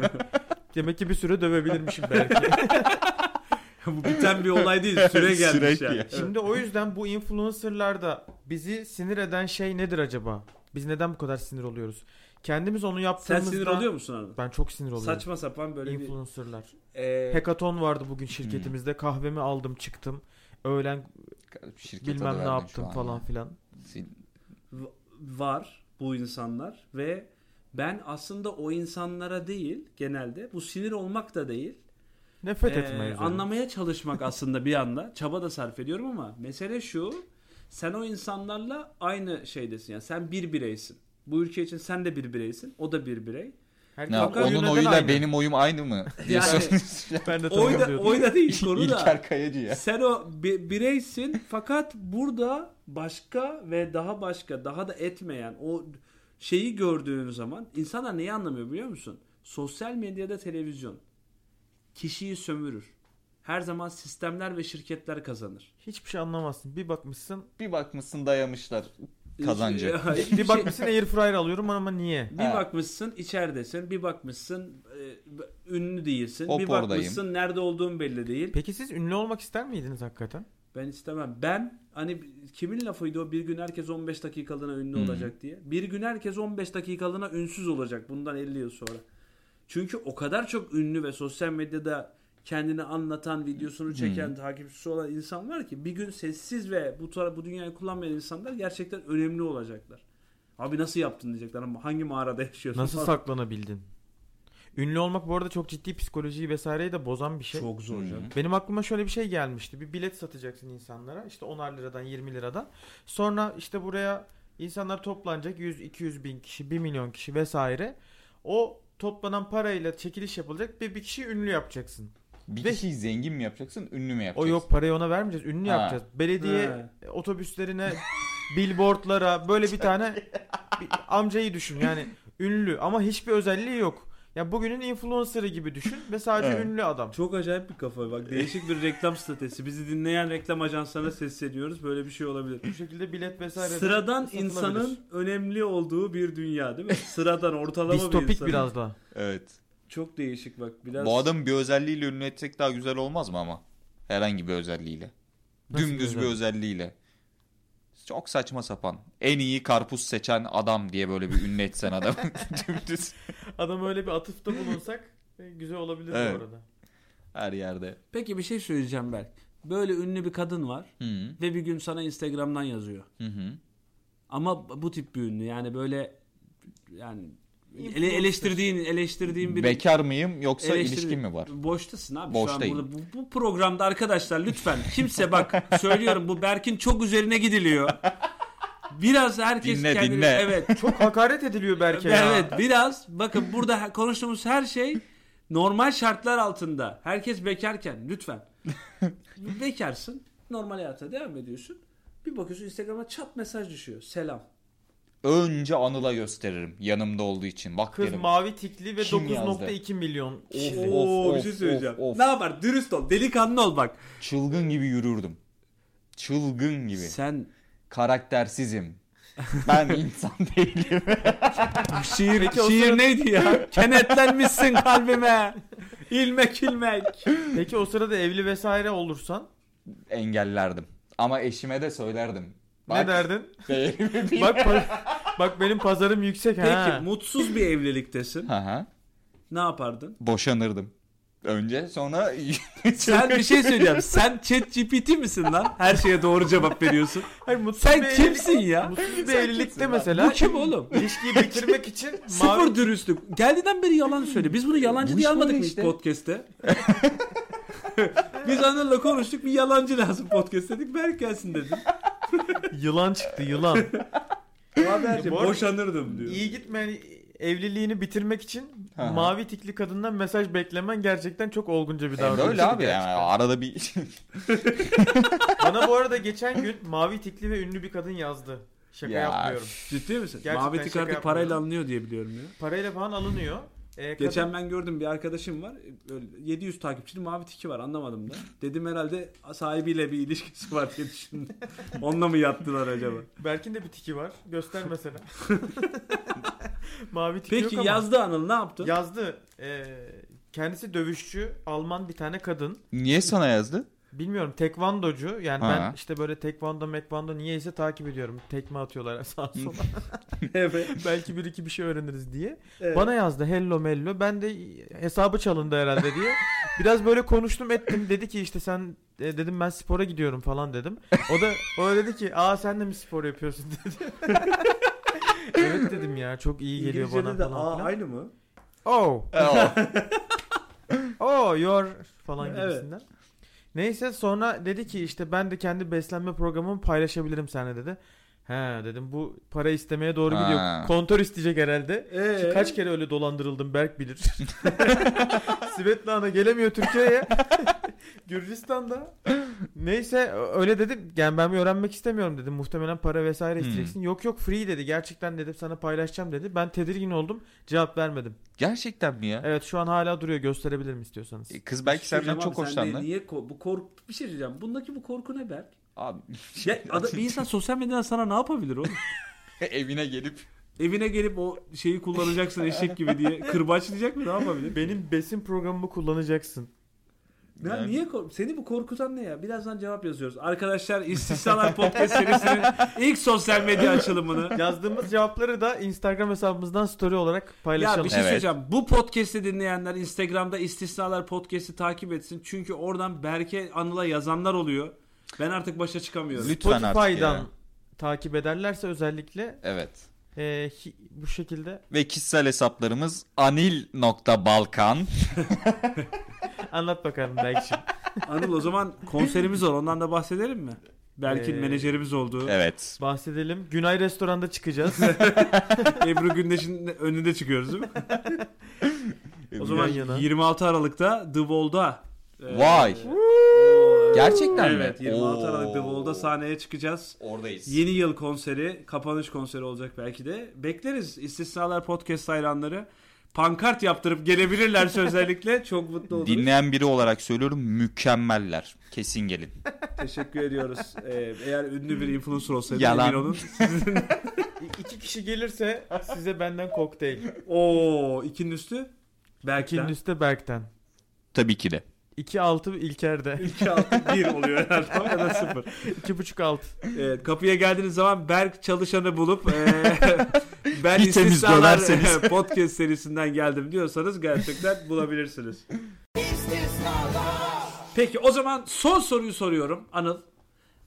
Speaker 3: [LAUGHS] Demek ki bir süre dövebilirmişim belki.
Speaker 2: [LAUGHS] Bu biten bir olay değil süre gelmiş
Speaker 1: Sürekli.
Speaker 2: yani.
Speaker 3: Şimdi o yüzden bu influencerlarda bizi sinir eden şey nedir acaba? Biz neden bu kadar sinir oluyoruz? Kendimiz onu
Speaker 2: Sen
Speaker 3: yaptığımızda
Speaker 2: sinir oluyor musun abi?
Speaker 3: Ben çok sinir oluyorum.
Speaker 2: Saçma sapan böyle bir...
Speaker 3: influencerlar.
Speaker 2: Ee,
Speaker 3: Hekaton vardı bugün
Speaker 1: Hmm.
Speaker 3: şirketimizde. Kahvemi aldım, çıktım. Öğlen
Speaker 1: Şirkete
Speaker 3: bilmem ne
Speaker 1: döverdin şu
Speaker 3: yaptım
Speaker 1: an
Speaker 3: falan
Speaker 1: ya.
Speaker 3: filan.
Speaker 1: Sil-
Speaker 2: v- var bu insanlar ve ben aslında o insanlara değil genelde bu sinir olmak da değil
Speaker 3: Nefret
Speaker 2: Ee,
Speaker 3: etmeye üzerine.
Speaker 2: anlamaya çalışmak aslında bir anda çaba da sarf ediyorum ama mesele şu sen o insanlarla aynı şeydesin yani sen bir bireysin bu ülke için sen de bir bireysin o da bir birey
Speaker 3: Herkes
Speaker 1: Ne yap-
Speaker 3: Hakan
Speaker 1: Onun
Speaker 3: Yönel'den
Speaker 1: oyuyla
Speaker 3: aynı.
Speaker 1: benim oyum aynı
Speaker 3: [LAUGHS]
Speaker 1: mı? Diye
Speaker 2: Yani-
Speaker 1: soruyorsun.
Speaker 3: ben de
Speaker 2: oy da,
Speaker 3: tanımlıyordum.
Speaker 2: oy da değil konu da
Speaker 1: İlker Kayacı ya.
Speaker 2: sen o bi- bireysin fakat burada başka ve daha başka daha da etmeyen o şeyi gördüğün zaman insanlar neyi anlamıyor biliyor musun? Sosyal medyada televizyon kişiyi sömürür. Her zaman sistemler ve şirketler kazanır.
Speaker 3: Hiçbir şey anlamazsın.
Speaker 2: [LAUGHS]
Speaker 3: Bir bakmışsın.
Speaker 1: Bir bakmışsın dayamışlar kazancı.
Speaker 3: [LAUGHS]
Speaker 2: Hiçbir şey-
Speaker 1: [LAUGHS]
Speaker 3: Bir bakmışsın air fryer alıyorum ama niye?
Speaker 2: Bir
Speaker 1: Ha.
Speaker 2: bakmışsın içeridesin, bir bakmışsın e, ünlü değilsin,
Speaker 1: Hop
Speaker 2: bir
Speaker 1: oradayım.
Speaker 2: bakmışsın nerede olduğun belli değil.
Speaker 3: Peki siz ünlü olmak ister miydiniz hakikaten?
Speaker 2: Ben istemem. Ben hani kimin lafıydı o bir gün herkes 15 dakikalığına ünlü
Speaker 1: Hmm.
Speaker 2: olacak diye. Bir gün herkes 15 dakikalığına ünsüz olacak bundan 50 yıl sonra. Çünkü o kadar çok ünlü ve sosyal medyada kendini anlatan, videosunu çeken, takipçisi olan insan var ki bir gün sessiz ve bu tara- bu dünyayı kullanmayan insanlar gerçekten önemli olacaklar. Abi nasıl yaptın diyecekler ama hangi mağarada yaşıyorsun?
Speaker 3: Nasıl
Speaker 2: falan.
Speaker 3: saklanabildin? Ünlü olmak bu arada çok ciddi psikolojiyi vesaireyi de bozan bir şey.
Speaker 2: Çok zor
Speaker 1: Hı.
Speaker 2: canım.
Speaker 3: Benim aklıma şöyle bir şey gelmişti. Bir bilet satacaksın insanlara. İşte 10'ar liradan 20 liradan. Sonra işte buraya insanlar toplanacak. 100-200 bin kişi, 1 milyon kişi vesaire. O toplanan parayla çekiliş yapılacak ve bir kişiyi ünlü yapacaksın.
Speaker 1: Bir
Speaker 3: Ve-
Speaker 1: kişiyi zengin mi yapacaksın, ünlü mü
Speaker 3: O
Speaker 1: yapacaksın?
Speaker 3: yok parayı ona vermeyeceğiz. Ünlü
Speaker 1: Ha.
Speaker 3: yapacağız. Belediye
Speaker 2: He.
Speaker 3: otobüslerine, [LAUGHS] billboardlara böyle bir tane bir amcayı düşün. Yani ünlü ama hiçbir özelliği yok. Ya bugünün influencer'ı gibi düşün ve sadece
Speaker 1: Evet.
Speaker 3: ünlü adam.
Speaker 2: Çok acayip bir kafa bak. Değişik bir reklam stratejisi. Bizi dinleyen reklam ajanslarına sesleniyoruz. Böyle bir şey olabilir.
Speaker 3: Bu şekilde bilet vesaire de
Speaker 2: Sıradan
Speaker 3: satılabilir.
Speaker 2: insanın önemli olduğu bir dünya [LAUGHS] değil mi? Sıradan ortalama bir
Speaker 3: distopik
Speaker 2: insanın.
Speaker 3: biraz daha.
Speaker 1: Evet.
Speaker 2: Çok değişik bak. Biraz
Speaker 1: Bu adamın bir özelliğiyle ünlü etsek daha güzel olmaz mı ama? Herhangi bir özelliğiyle.
Speaker 3: Nasıl bir
Speaker 1: Dümdüz bir
Speaker 3: özellik?
Speaker 1: özelliğiyle. Çok saçma sapan. En iyi karpuz seçen adam diye böyle bir ünlü etsen
Speaker 3: [LAUGHS]
Speaker 1: adam. [LAUGHS] Dümdüz.
Speaker 3: Adam öyle bir atıfta bulunsak e, güzel olabilir
Speaker 1: Evet.
Speaker 3: bu arada.
Speaker 1: Her yerde.
Speaker 2: Peki bir şey söyleyeceğim Berk. Böyle ünlü bir kadın var
Speaker 1: Hı hı,
Speaker 2: ve bir gün sana Instagram'dan yazıyor.
Speaker 1: hı hı.
Speaker 2: Ama bu tip bir ünlü yani böyle yani ele,
Speaker 3: Influencer.
Speaker 2: eleştirdiğin eleştirdiğin bir
Speaker 1: Bekar mıyım yoksa
Speaker 2: Eleştiri-
Speaker 1: ilişkin mi var?
Speaker 2: Boştasın abi
Speaker 1: Boştayım.
Speaker 2: şu an burada. Bu, bu programda arkadaşlar lütfen kimse bak söylüyorum bu Berk'in çok üzerine gidiliyor. Biraz herkes
Speaker 1: Dinle,
Speaker 2: kendini
Speaker 1: dinle.
Speaker 2: evet.
Speaker 3: Çok hakaret ediliyor belki ya.
Speaker 2: evet biraz bakın burada he- konuştuğumuz her şey normal şartlar altında. Herkes bekarken
Speaker 1: [LAUGHS]
Speaker 2: lütfen. Bekarsın. Normal hayata devam ediyorsun. Bir bakıyorsun Instagram'a çat mesaj düşüyor. Selam.
Speaker 1: Önce Anıl'a gösteririm yanımda olduğu için. Bak
Speaker 3: Kız
Speaker 1: derim.
Speaker 3: mavi tikli ve
Speaker 1: Kim yazdı?
Speaker 3: 9.2 milyon kişi.
Speaker 1: Of, of, of, of.
Speaker 2: şey Ne yapar? Dürüst ol. Delikanlı ol bak.
Speaker 1: Çılgın gibi yürürdüm. Çılgın gibi.
Speaker 2: Sen
Speaker 1: Karaktersizim.
Speaker 3: [LAUGHS]
Speaker 1: Ben insan değilim.
Speaker 2: Şiir,
Speaker 1: Ah,
Speaker 3: Peki o
Speaker 2: şiir
Speaker 1: [LAUGHS]
Speaker 3: sırada-
Speaker 2: neydi ya? Kenetlenmişsin kalbime. İlmek ilmek.
Speaker 3: Peki o sırada evli vesaire olursan
Speaker 1: Engellerdim. Ama eşime de söylerdim. [LAUGHS]
Speaker 3: ne derdin?
Speaker 1: değerimi bil.
Speaker 3: bak pa- bak benim pazarım yüksek ha.
Speaker 2: Peki mutsuz bir evliliktesin.
Speaker 1: Hı hı.
Speaker 2: Ne yapardın?
Speaker 1: Boşanırdım. Önce sonra [LAUGHS]
Speaker 2: Sen bir şey söyleyeceğim. Sen chat GPT misin lan? Her şeye doğru cevap veriyorsun.
Speaker 3: Hayır, mutsuz bir
Speaker 2: Sen
Speaker 3: evlilik-
Speaker 2: kimsin ya?
Speaker 3: Mutsuz bir
Speaker 1: Sen
Speaker 3: evlilikte
Speaker 1: kimsin
Speaker 3: mesela
Speaker 2: Bu kim oğlum?
Speaker 3: [LAUGHS] ilişkiyi
Speaker 1: [LAUGHS]
Speaker 3: bitirmek için mavi
Speaker 2: Sıfır dürüstlük. Geldiğinden beri yalan söyle. Biz bunu yalancı
Speaker 1: Bu
Speaker 2: diye
Speaker 1: iş
Speaker 2: almadık
Speaker 1: böyle
Speaker 2: mı
Speaker 1: işte.
Speaker 2: ilk podcast'te? [LAUGHS] Biz Anıl'la konuştuk bir yalancı lazım podcast dedik. Berk gelsin dedim.
Speaker 3: yılan çıktı yılan.
Speaker 2: Haberci
Speaker 3: Bu arada-
Speaker 2: boşanırdım diyor.
Speaker 3: İyi gitmeyen evliliğini bitirmek için
Speaker 1: Hı hı.
Speaker 3: mavi tikli kadından mesaj beklemen gerçekten çok olgunca bir
Speaker 1: [LAUGHS] E,
Speaker 3: davranış.
Speaker 1: böyle abi yani
Speaker 3: Gerçekten.
Speaker 1: arada bir [LAUGHS]
Speaker 3: Bana bu arada geçen gün mavi tikli ve ünlü bir kadın yazdı. Şaka
Speaker 1: Ya.
Speaker 3: yapmıyorum.
Speaker 2: Ciddi misin?
Speaker 3: Gerçekten
Speaker 2: Mavi tik
Speaker 3: şaka
Speaker 2: artık
Speaker 3: yapmıyorum.
Speaker 2: parayla alınıyor diye biliyorum ya.
Speaker 3: Parayla falan alınıyor. Ee, kadın-
Speaker 2: Geçen ben gördüm bir arkadaşım var. Öyle 700 takipçili mavi tiki var anlamadım da. Dedim herhalde sahibiyle bir ilişkisi var diye
Speaker 3: [LAUGHS]
Speaker 2: düşündüm. Onunla mı yattılar acaba?
Speaker 3: Berk'in de bir tiki var.
Speaker 2: [LAUGHS]
Speaker 3: Göster mesela. [LAUGHS] mavi tiki
Speaker 2: Peki
Speaker 3: yok
Speaker 2: yazdı Anıl ne yaptın?
Speaker 3: ama.
Speaker 2: [LAUGHS]
Speaker 3: Yazdı. Ee, kendisi dövüşçü Alman bir tane kadın.
Speaker 1: Niye sana yazdı?
Speaker 3: Bilmiyorum tekvandocu. Yani
Speaker 1: Ha.
Speaker 3: ben işte böyle tekvando mekvando niyeyse takip ediyorum. Tekme atıyorlar [LAUGHS] sağa sola.
Speaker 1: [LAUGHS]
Speaker 5: evet.
Speaker 3: Belki bir iki bir şey öğreniriz diye.
Speaker 5: evet.
Speaker 3: Bana yazdı hello mello. Ben de hesabı çalındı herhalde diye. Biraz böyle konuştum ettim. Dedi ki işte sen e, dedim ben spora gidiyorum falan dedim. O da o da dedi ki aa sen de mi spor yapıyorsun dedi. [LAUGHS] evet dedim ya çok iyi geliyor bana
Speaker 5: İngilizce'de de
Speaker 3: falan.
Speaker 5: A
Speaker 3: filan.
Speaker 5: aynı mı?
Speaker 3: Oh.
Speaker 2: E,
Speaker 1: Oh.
Speaker 3: Oh your falan
Speaker 2: Evet.
Speaker 3: gibisinden. Neyse sonra dedi ki işte ben de kendi beslenme programımı paylaşabilirim seninle dedi. He dedim bu para istemeye doğru
Speaker 1: Ha.
Speaker 3: gidiyor. Kontör isteyecek herhalde. Ki
Speaker 2: Ee,
Speaker 3: Kaç kere öyle dolandırıldım Berk bilir. [LAUGHS] Svetlana gelemiyor Türkiye'ye. [LAUGHS] Gürcistan'da. Neyse ö- öyle dedim. Yani ben bir öğrenmek istemiyorum dedim. Muhtemelen para vesaire
Speaker 1: Hmm.
Speaker 3: isteyeceksin. Yok yok free dedi. Gerçekten dedim sana paylaşacağım dedi. Ben tedirgin oldum. Cevap vermedim.
Speaker 1: [LAUGHS] Gerçekten mi ya?
Speaker 3: Evet şu an hala duruyor. Gösterebilirim istiyorsanız.
Speaker 1: E, Kız
Speaker 2: şey
Speaker 1: belki senden çok hoşlandı.
Speaker 2: Niye ko- bu kork bir şey diyeceğim. Bundaki bu korku ne Berk?
Speaker 1: Abi [LAUGHS]
Speaker 2: Ya ada- bir insan sosyal medyadan sana ne yapabilir oğlum?
Speaker 1: evine gelip
Speaker 2: Evine gelip o şeyi kullanacaksın eşek gibi diye kırbaçlayacak mı ne yapabilir?
Speaker 3: Benim besin programımı kullanacaksın.
Speaker 2: Ya
Speaker 1: [LAUGHS] Yani-
Speaker 2: niye kork- seni bu korkutan ne ya? Birazdan cevap yazıyoruz. Arkadaşlar İstisnalar Podcast serisinin ilk sosyal medya açılımını
Speaker 3: Yazdığımız cevapları da Instagram hesabımızdan story olarak paylaşalım.
Speaker 2: Ya bir şey
Speaker 1: Evet.
Speaker 2: söyleyeceğim. Bu podcast'i dinleyenler Instagram'da İstisnalar Podcast'i takip etsin. Çünkü oradan Berke Anıl'a yazanlar oluyor. Ben artık başa çıkamıyorum.
Speaker 1: lütfen artık
Speaker 3: Spotify'dan
Speaker 1: ya.
Speaker 3: takip ederlerse özellikle
Speaker 1: Evet.
Speaker 3: e, hi- bu şekilde
Speaker 1: Ve kişisel hesaplarımız anil.balkan.
Speaker 3: anlat
Speaker 2: [LAUGHS]
Speaker 3: bakalım belki.
Speaker 2: Anıl o zaman konserimiz var. Ondan da bahsedelim mi? Berk'in
Speaker 3: Ee,
Speaker 2: menajerimiz olduğu.
Speaker 1: Evet.
Speaker 3: Bahsedelim. Günay restoranda çıkacağız.
Speaker 2: [LAUGHS] Ebru Gündeş'in önünde çıkıyoruz değil mi? O zaman
Speaker 3: Yan yana.
Speaker 2: 26 Aralık'ta The Wall'da. e,
Speaker 1: Vay.
Speaker 2: o-
Speaker 1: Gerçekten mi?
Speaker 2: Evet 26
Speaker 1: Oo.
Speaker 2: Aralık The Wall'da sahneye çıkacağız.
Speaker 1: Oradayız.
Speaker 2: Yeni yıl konseri, kapanış konseri olacak belki de. Bekleriz istisnalar podcast hayranları. Pankart yaptırıp
Speaker 1: [LAUGHS]
Speaker 2: gelebilirlerse özellikle çok mutlu oluruz.
Speaker 1: Dinleyen biri olarak söylüyorum mükemmeller. Kesin gelin.
Speaker 2: Teşekkür ediyoruz. Ee, eğer ünlü bir influencer olsaydı
Speaker 1: Yalan.
Speaker 2: emin olun.
Speaker 3: İ- İki kişi gelirse size benden kokteyl.
Speaker 2: [LAUGHS] Oo, ikinin üstü. Belki
Speaker 3: İkinin üstte Berk'ten.
Speaker 1: Tabii ki de.
Speaker 3: 2-6 İlker'de.
Speaker 2: [LAUGHS] 2 6 1 oluyor herhalde [LAUGHS] ya da 0.
Speaker 3: 2.5-6.
Speaker 2: Evet, kapıya geldiğiniz zaman Berk çalışanı bulup e,
Speaker 1: [LAUGHS]
Speaker 2: ben
Speaker 1: Bir temiz
Speaker 2: istisnalar
Speaker 1: dönerseniz.
Speaker 2: [LAUGHS] podcast serisinden geldim diyorsanız gerçekten bulabilirsiniz. Peki o zaman son soruyu soruyorum Anıl.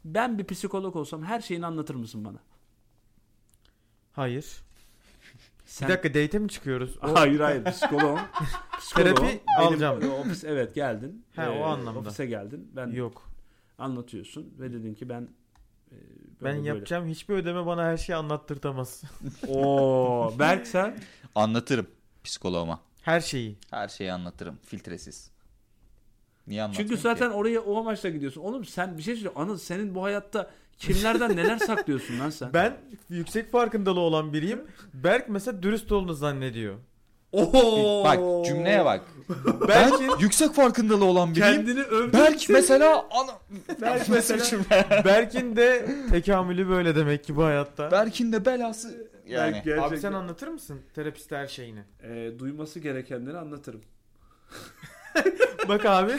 Speaker 2: Ben bir psikolog olsam her şeyini anlatır mısın bana?
Speaker 3: Hayır.
Speaker 2: Sen...
Speaker 3: Bir dakika date mi çıkıyoruz?
Speaker 2: [LAUGHS]
Speaker 3: O-
Speaker 2: Hayır hayır
Speaker 3: [LAUGHS]
Speaker 2: psikolog. Psikolog.
Speaker 3: Terapi alacağım.
Speaker 2: e, Ofis, evet geldin. E,
Speaker 3: He, o anlamda.
Speaker 2: Ofise geldin. Ben
Speaker 3: Yok.
Speaker 2: anlatıyorsun ve dedin ki ben e,
Speaker 3: Ben
Speaker 2: böyle böyle.
Speaker 3: yapacağım hiçbir ödeme bana her şeyi anlattırtamaz. [LAUGHS]
Speaker 2: Oo, Berk sen
Speaker 1: Anlatırım psikoloğuma.
Speaker 3: Her şeyi.
Speaker 1: Her şeyi anlatırım filtresiz. Niye anlatmayayım
Speaker 2: Çünkü zaten
Speaker 1: ki?
Speaker 2: oraya o amaçla gidiyorsun. Oğlum sen bir şey söyle. Anıl senin bu hayatta kimlerden neler saklıyorsun lan sen?
Speaker 3: Ben yüksek farkındalığı olan biriyim. Berk mesela dürüst olduğunu zannediyor.
Speaker 2: Oho!
Speaker 1: Bak cümleye bak.
Speaker 3: Belki
Speaker 1: Ben yüksek farkındalığı olan biriyim.
Speaker 2: Kendini övdün.
Speaker 1: Berk mesela ana...
Speaker 3: Berk Berk'in de tekamülü böyle demek ki bu hayatta.
Speaker 1: Berk'in de belası yani.
Speaker 2: Berk gerçekten-
Speaker 3: Abi sen anlatır mısın terapiste her şeyini?
Speaker 2: Ee, duyması gerekenleri anlatırım.
Speaker 3: Bak abi.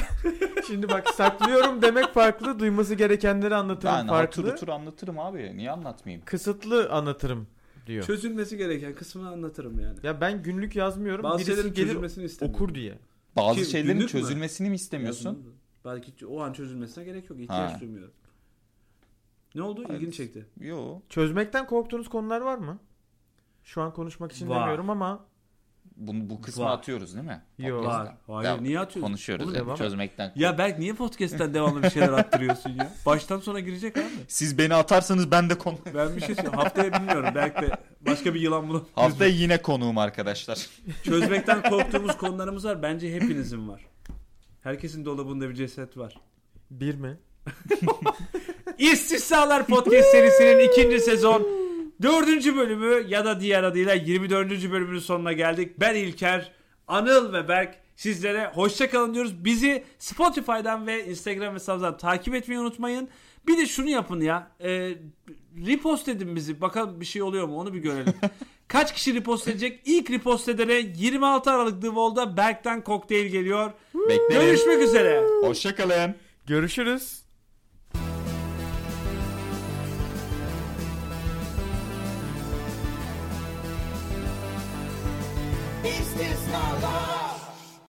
Speaker 3: Şimdi bak saklıyorum demek farklı. Duyması gerekenleri anlatırım
Speaker 1: Ben
Speaker 3: farklı.
Speaker 1: hatır tur anlatırım abi. Niye anlatmayayım?
Speaker 3: Kısıtlı anlatırım diyor.
Speaker 2: Çözülmesi gereken kısmını anlatırım yani.
Speaker 3: Ya ben günlük yazmıyorum.
Speaker 2: Bazı
Speaker 3: Birisi
Speaker 2: şeylerin
Speaker 3: gelir
Speaker 2: çözülmesini istemiyorum.
Speaker 3: okur diye.
Speaker 1: Bazı
Speaker 2: Ki,
Speaker 1: şeylerin
Speaker 2: günlük mü?
Speaker 1: çözülmesini mi istemiyorsun?
Speaker 2: Yazın. Belki o an çözülmesine gerek yok. İhtiyaç
Speaker 1: Ha.
Speaker 2: duymuyorum. Ne oldu?
Speaker 1: Hayır.
Speaker 2: İlgini çekti.
Speaker 1: Yo.
Speaker 3: Çözmekten korktuğunuz konular var mı? Şu an konuşmak için
Speaker 2: Var.
Speaker 3: demiyorum ama
Speaker 1: Bunu bu kısmı
Speaker 2: Var.
Speaker 1: atıyoruz değil mi?
Speaker 3: Yo.
Speaker 1: Podcast'ta.
Speaker 2: Var. Hayır.
Speaker 1: Devam.
Speaker 2: Niye atıyorsun?
Speaker 1: Konuşuyoruz.
Speaker 3: Oğlum
Speaker 1: yani,
Speaker 3: devam et.
Speaker 1: çözmekten.
Speaker 2: Ya Berk niye podcast'ten devamlı bir şeyler attırıyorsun ya? Baştan sona girecek abi.
Speaker 1: Siz beni atarsanız ben de konu.
Speaker 2: Ben bir şey söyleyeyim. Haftaya bilmiyorum. Berk de başka bir yılan bunu
Speaker 1: Haftaya yine konuğum arkadaşlar.
Speaker 2: çözmekten korktuğumuz konularımız var. Bence hepinizin var. Herkesin dolabında bir ceset var.
Speaker 3: bir mi?
Speaker 2: İstisnalar Podcast serisinin ikinci sezon dördüncü bölümü ya da diğer adıyla 24. bölümünün sonuna geldik. Ben İlker, Anıl ve Berk sizlere hoşça kalın diyoruz. Bizi Spotify'dan ve Instagram hesabımızdan takip etmeyi unutmayın. Bir de şunu yapın ya. E, repost edin bizi. Bakalım bir şey oluyor mu onu bir görelim. Kaç kişi repost edecek? İlk repost edene 26 Aralık The Wall'da Berk'ten kokteyl geliyor.
Speaker 1: Beklerim.
Speaker 2: Görüşmek üzere.
Speaker 1: Hoşçakalın.
Speaker 3: Görüşürüz.
Speaker 6: Is this my life?